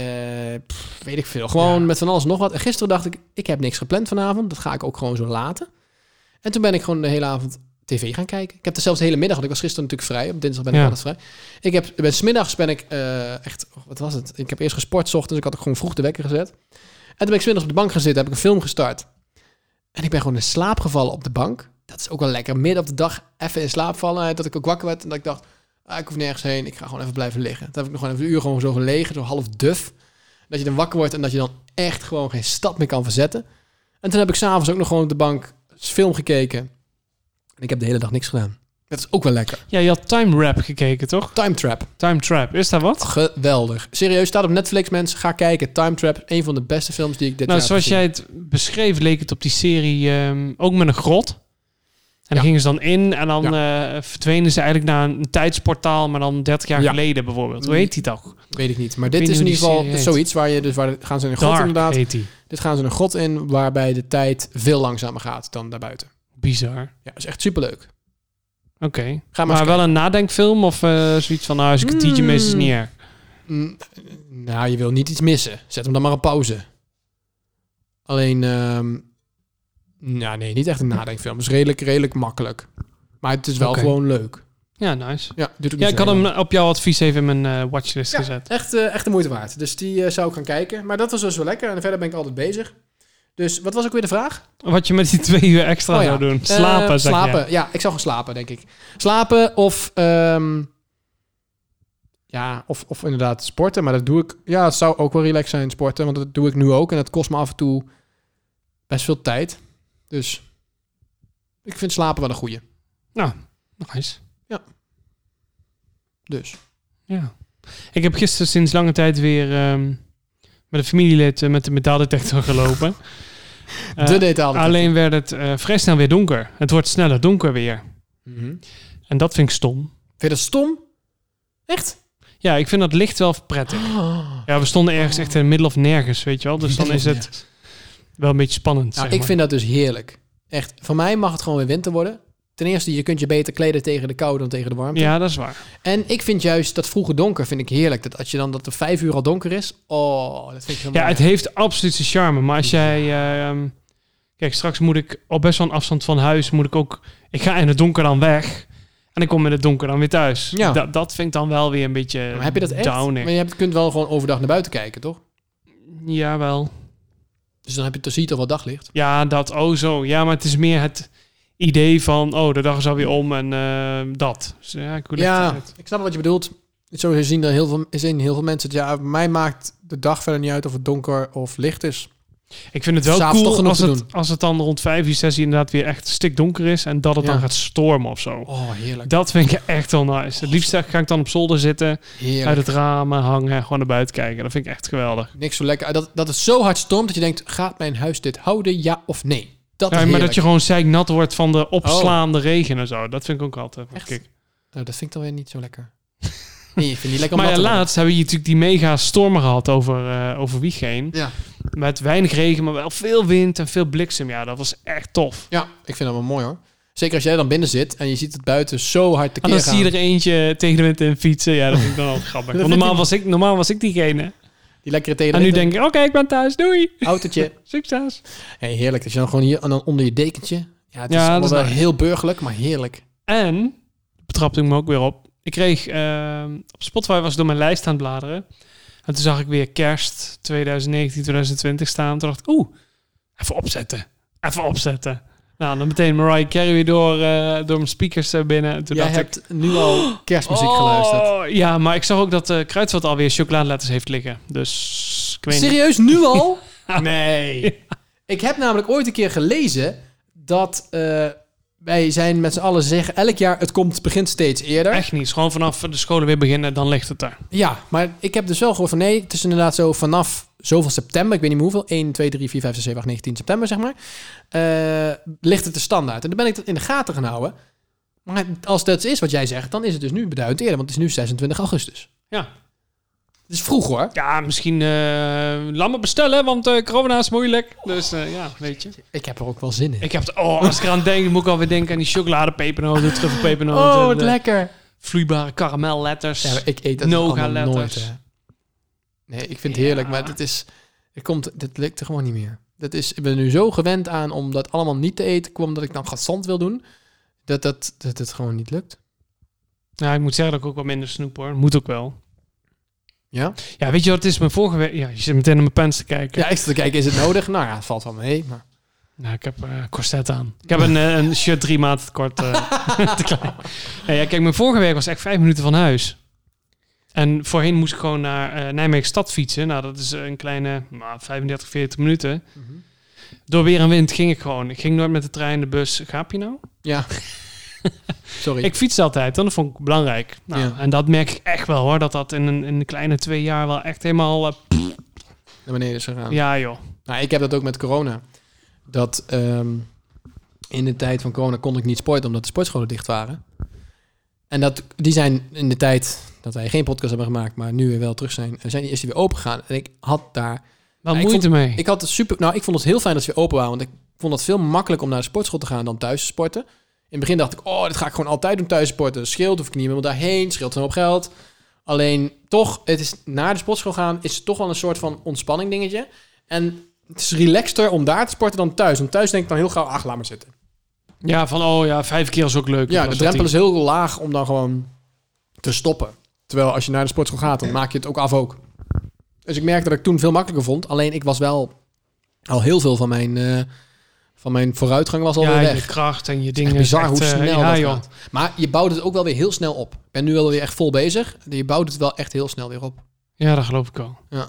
S3: pff, weet ik veel. Gewoon
S2: Ja.
S3: met van alles en nog wat. En gisteren dacht ik, ik heb niks gepland vanavond, dat ga ik ook gewoon zo laten. En toen ben ik gewoon de hele avond tv gaan kijken. Ik heb er zelfs de hele middag, want ik was gisteren natuurlijk vrij. Op dinsdag ben ik
S2: Ja.
S3: altijd vrij. Ik heb, ben, 's middags ben ik eh, echt, oh, wat was het? Ik heb eerst gesport 's ochtends, ik had ook gewoon vroeg de wekker gezet. En toen ben ik 's middags op de bank gaan zitten, heb ik een film gestart. En ik ben gewoon in slaap gevallen op de bank. Dat is ook wel lekker. Midden op de dag even in slaap vallen. Dat ik ook wakker werd en dat ik dacht, ah, ik hoef nergens heen. Ik ga gewoon even blijven liggen. Toen heb ik nog gewoon even een uur gewoon zo gelegen, zo half duf. Dat je dan wakker wordt en dat je dan echt gewoon geen stap meer kan verzetten. En toen heb ik s'avonds ook nog gewoon op de bank film gekeken. En ik heb de hele dag niks gedaan. Dat is ook wel lekker.
S2: Ja, je had Time Rap gekeken, toch?
S3: Time Trap.
S2: Time Trap. Is dat wat?
S3: Geweldig. Serieus, staat op Netflix, mensen. Ga kijken. Time Trap. Een van de beste films die ik dit
S2: nou,
S3: jaar
S2: zoals
S3: heb gezien.
S2: jij het beschreef, leek het op die serie ehm, ook met een grot. En
S3: Ja.
S2: dan gingen ze dan in en dan eh, verdwenen ze eigenlijk naar een tijdsportaal, maar dan 30 jaar
S3: Ja.
S2: geleden bijvoorbeeld. Hoe heet die toch?
S3: Weet ik niet. Maar
S2: weet
S3: dit is in
S2: niet
S3: ieder
S2: hoe die
S3: geval
S2: serie heet.
S3: zoiets waar je dus waar gaan ze in een grot
S2: Dark
S3: inderdaad.
S2: heet die.
S3: Dit gaan ze een grot in waarbij de tijd veel langzamer gaat dan daarbuiten.
S2: Bizar. Oké.
S3: Ja, is echt superleuk. Ga maar,
S2: Maar,
S3: eens
S2: wel een nadenkfilm of eh, zoiets van, nou, als ik het tientje mis, is het niet
S3: Hmm.
S2: erg.
S3: Mm, Nou, je wil niet iets missen. Zet hem dan maar op pauze. Alleen, ehm, nou nee, niet echt een nadenkfilm. Het is redelijk, redelijk makkelijk. Maar het is wel
S2: Oké.
S3: gewoon leuk.
S2: Ja, nice.
S3: Ja, duurt ook
S2: Ja,
S3: niet
S2: ik
S3: zo
S2: had hem
S3: heel lang.
S2: op jouw advies even in mijn eh, watchlist
S3: Ja.
S2: gezet.
S3: Echt, eh, echt de moeite waard. Dus die eh, zou ik gaan kijken. Maar dat was dus wel lekker. En verder ben ik altijd bezig. Dus wat was ook weer de vraag?
S2: Wat je met die twee uur extra
S3: Oh ja.
S2: zou doen.
S3: Eh,
S2: Slapen, zeg
S3: slapen.
S2: je.
S3: Ja, ik zou gaan slapen, denk ik. Slapen of... ehm, ja, of, of inderdaad sporten. Maar dat doe ik... Ja, het zou ook wel relaxed zijn, sporten. Want dat doe ik nu ook. En dat kost me af en toe best veel tijd. Dus ik vind slapen wel een goeie.
S2: Nice.
S3: Dus.
S2: Ja. Ik heb gisteren sinds lange tijd weer ehm, met een familielid eh, met de metaaldetector gelopen. Eh,
S3: de detail.
S2: alleen werd het eh, vrij snel weer donker. Het wordt sneller donker weer.
S3: Mhm.
S2: En dat vind ik stom.
S3: Vind je dat stom? Echt?
S2: Ja, ik vind dat licht wel prettig. Ja, we stonden ergens echt in het middel of nergens, weet je wel. Dus dan Dus is het wel een beetje spannend.
S3: Nou,
S2: zeg
S3: ik
S2: maar.
S3: vind dat dus heerlijk. Echt. Voor mij mag het gewoon weer winter worden. Ten eerste, je kunt je beter kleden tegen de kou dan tegen de warmte.
S2: Ja, dat is waar.
S3: En ik vind juist dat vroege donker vind ik heerlijk. Dat als je dan dat er vijf uur al donker is. Oh, dat vind ik heel
S2: Ja,
S3: mooi.
S2: het heeft absoluut zijn charme. Maar als jij... eh, ehm, kijk, straks moet ik op best wel een afstand van huis... moet ik ook... Ik ga in het donker dan weg. En ik kom in het donker dan weer thuis.
S3: Ja.
S2: Dat, dat vind ik dan wel weer een beetje
S3: maar heb je dat echt?
S2: downer.
S3: Maar je hebt, kunt wel gewoon overdag naar buiten kijken, toch?
S2: Jawel.
S3: Dus dan heb je, dan zie je toch wel daglicht.
S2: Ja, dat, oh zo. Ja, maar het is meer het idee van... Oh, de dag is alweer om en eh, dat. Dus ja, ik wil
S3: ja,
S2: het-
S3: ik snap wat je bedoelt. Zo zien er heel veel, zien heel veel mensen het. Ja, mij maakt de dag verder niet uit of het donker of licht is.
S2: Ik vind het wel
S3: S'avonds toch
S2: cool
S3: genoeg
S2: als
S3: te
S2: het, als het dan rond 5 uur, 6 uur inderdaad weer echt stikdonker is. En dat het
S3: Ja.
S2: dan gaat stormen of zo.
S3: Oh, heerlijk.
S2: Dat vind ik echt wel nice. Het liefst ga ik dan op zolder zitten, uit
S3: Heerlijk.
S2: het raam eh, hangen en gewoon naar buiten kijken. Dat vind ik echt geweldig.
S3: Niks zo lekker. Dat, dat het zo hard stormt dat je denkt, gaat mijn huis dit houden? Ja of nee? Dat
S2: Ja,
S3: is
S2: maar
S3: heerlijk.
S2: dat je gewoon zeiknat wordt van de opslaande regen en zo. Dat vind ik ook altijd.
S3: Echt?
S2: Kijk.
S3: Nou, dat vind ik dan weer niet zo lekker. Nee, ik vind niet lekker om
S2: Maar ja,
S3: nat te worden.
S2: laatst hebben we hier natuurlijk die mega stormen gehad over, eh, over Wiegeen.
S3: Ja.
S2: Met weinig regen, maar wel veel wind en veel bliksem. Ja, dat was echt tof.
S3: Ja, ik vind dat wel mooi hoor. Zeker als jij dan binnen zit en je ziet het buiten zo hard te
S2: En
S3: keer
S2: Ah, dan
S3: gaan.
S2: zie je er eentje tegen de wind in fietsen. Ja, dat vind ik dan wel grappig. Want normaal was, ik, normaal was ik diegene.
S3: Die lekkere tegen
S2: En nu denk ik, oké, ik ben thuis. Doei.
S3: Autootje.
S2: Succes.
S3: Hey, heerlijk. Dat je dan gewoon hier en dan onder je dekentje. Ja, het
S2: Ja,
S3: is
S2: dat
S3: allemaal
S2: is
S3: wel
S2: nice.
S3: heel burgerlijk, maar heerlijk.
S2: En, betrapte ik me ook weer op. Ik kreeg, ehm, op Spotify was ik door mijn lijst aan het bladeren. En toen zag ik weer kerst 2019, 2020 staan. Toen dacht ik, oeh, even opzetten. Even opzetten. Nou, dan meteen Mariah Carey weer door, eh, door mijn speakers eh, binnen. En Toen
S3: jij
S2: dacht ik,
S3: hebt nu al kerstmuziek
S2: oh,
S3: geluisterd.
S2: Ja, maar ik zag ook dat eh Kruidvat alweer chocoladeletters heeft liggen. Dus, ik weet niet.
S3: Serieus, nu al?
S2: Nee.
S3: ik heb namelijk ooit een keer gelezen dat eh, wij zijn met z'n allen zeggen... elk jaar, het komt, begint steeds eerder.
S2: Echt niet. Het is Gewoon vanaf de scholen weer beginnen, dan ligt het er.
S3: Ja, maar ik heb dus wel gehoord van nee, het is inderdaad zo vanaf zoveel september, ik weet niet meer hoeveel, 1, 2, 3, 4, 5, 6, 7, 8, 9, 10 september zeg maar, eh, ligt het de standaard. En dan ben ik dat in de gaten gaan houden. Maar als dat is wat jij zegt, dan is het dus nu beduidend eerder, want het is nu 26 augustus.
S2: Ja.
S3: Het is vroeg hoor.
S2: Ja, misschien eh laat me bestellen, want eh, corona is moeilijk. Dus eh, ja, weet je.
S3: Ik heb er ook wel zin in.
S2: Ik heb het, oh, als ik eraan denk, dan moet ik alweer denken aan die chocoladepepernoten, de truffelpepernoten.
S3: oh,
S2: en
S3: wat
S2: de
S3: lekker.
S2: Vloeibare karamelletters.
S3: Ja, maar ik eet dat
S2: Noga
S3: allemaal nooit.
S2: letters.
S3: Hè. Nee, ik vind het heerlijk,
S2: Ja.
S3: maar dit is, het komt, dit lukt er gewoon niet meer. Dat is, ik ben nu zo gewend aan om dat allemaal niet te eten, kwam dat ik dan gezond wil doen, dat, dat, dat het gewoon niet lukt.
S2: Nou, ik moet zeggen dat ik ook wat minder snoep hoor. Moet ook wel.
S3: Ja?
S2: Ja, weet je wat het is? Mijn vorige week... Ja, je zit meteen naar mijn pants te kijken.
S3: Ja, ik zat te kijken, is het nodig? Nou ja, het valt wel mee, maar...
S2: Nou, ik heb eh corset aan. Ik heb een, eh, een shirt drie maten te kort. eh, te klein. Nee, ja, kijk, mijn vorige week was echt vijf minuten van huis. En voorheen moest ik gewoon naar eh, Nijmegen stad fietsen. Nou, dat is eh, een kleine nou, 35, 40 minuten.
S3: Mhm.
S2: Door weer en wind ging ik gewoon. Ik ging nooit met de trein, de bus. Gaap je nou?
S3: Ja. Sorry.
S2: Ik fiets altijd, want dat vond ik belangrijk. Nou,
S3: Ja.
S2: En dat merk ik echt wel hoor. Dat dat in een, in een kleine twee jaar wel echt helemaal... eh,
S3: Naar beneden is gegaan.
S2: ja joh.
S3: Nou, ik heb dat ook met corona. Dat ehm, in de tijd van corona kon ik niet sporten omdat de sportscholen dicht waren. En dat, die zijn in de tijd dat wij geen podcast hebben gemaakt, maar nu weer wel terug zijn, zijn die, is die weer open gegaan. En ik had daar
S2: Wel
S3: Ja, ik
S2: moeite mee.
S3: ik had het super. Nou, ik vond het heel fijn dat ze weer open waren. Want ik vond het veel makkelijker om naar de sportschool te gaan dan thuis te sporten. In het begin dacht ik, oh, dit ga ik gewoon altijd doen thuis sporten. Dat scheelt, hoef ik niet helemaal daarheen. Scheelt een hoop geld. Alleen toch, het is naar de sportschool gaan is toch wel een soort van ontspanning dingetje. En het is relaxter om daar te sporten dan thuis. Want thuis denk ik dan heel gauw, ach, laat maar zitten.
S2: ja, van oh ja, vijf keer is ook leuk.
S3: Ja,
S2: Dat
S3: de
S2: was
S3: drempel
S2: dat
S3: is heel laag om dan gewoon te stoppen. Terwijl als je naar de sportschool gaat, dan maak je het ook af ook. Dus ik merkte dat ik toen veel makkelijker vond. Alleen ik was wel al heel veel van mijn, eh, van mijn vooruitgang was
S2: die-
S3: alweer
S2: Ja, je
S3: weg.
S2: kracht en je dingen.
S3: Echt bizar hoe
S2: eh,
S3: snel
S2: ja,
S3: dat
S2: joh.
S3: gaat. Maar je bouwt het ook wel weer heel snel op. Ik ben nu alweer echt vol bezig. Je bouwt het wel echt heel snel weer op.
S2: Ja, dat geloof ik al.
S3: Ja.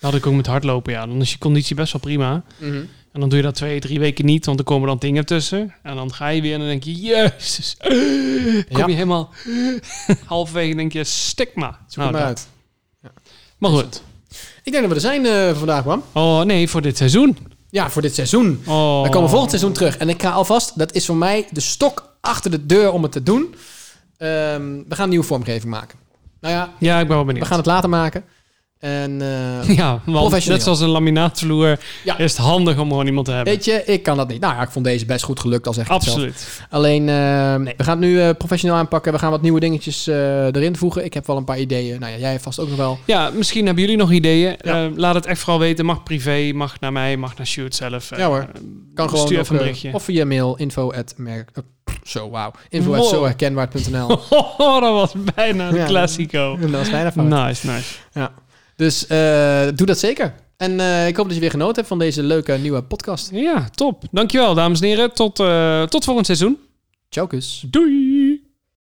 S2: Dat had ik ook met hardlopen, ja. Dan is je conditie best wel prima. En dan doe je dat twee, drie weken niet, want er komen dan dingen tussen. En dan ga je weer en dan denk je, jezus. Kom
S3: Ja.
S2: je helemaal halverwege en denk je, stik maar. Nou,
S3: Zoek het maar
S2: dat-
S3: uit.
S2: maar goed.
S3: Ik denk dat we er zijn eh, voor vandaag, man.
S2: Oh nee, voor dit seizoen.
S3: Ja, voor dit seizoen.
S2: Oh.
S3: We komen volgend seizoen terug. En ik ga alvast, dat is voor mij de stok achter de deur om het te doen. Ehm, we gaan een nieuwe vormgeving maken. Nou ja,
S2: Ja, ik ben wel benieuwd.
S3: we gaan het later maken. En eh,
S2: Ja, want
S3: Professioneel.
S2: net zoals een laminaatvloer
S3: Ja.
S2: is het handig om gewoon iemand te hebben.
S3: weet je, ik kan dat niet. Nou ja, ik vond deze best goed gelukt, al zeg ik het zelf.
S2: Absoluut.
S3: Alleen, eh, nee, we gaan het nu eh, professioneel aanpakken. We gaan wat nieuwe dingetjes eh, erin voegen. Ik heb wel een paar ideeën. Nou ja, jij vast ook nog wel.
S2: Ja, misschien hebben jullie nog ideeën.
S3: Ja.
S2: Eh, laat het echt vooral weten. Mag privé, mag naar mij, mag naar Shoot zelf. Eh,
S3: Ja hoor.
S2: eh,
S3: Kan gewoon
S2: Stuur
S3: op,
S2: even een
S3: eh,
S2: berichtje.
S3: of via mail info at merk- eh, pff, zo, wauw. Info
S2: Wow.
S3: at zoherkenbaar.nl.
S2: Oh, dat was bijna een
S3: Ja.
S2: classico.
S3: dat was bijna fout.
S2: Nice, nice.
S3: Dus eh, doe dat zeker. En eh, ik hoop dat je weer genoten hebt van deze leuke nieuwe podcast.
S2: Ja, top. Dankjewel, dames en heren. Tot, eh, tot volgend seizoen.
S3: Ciao, kus.
S2: Doei!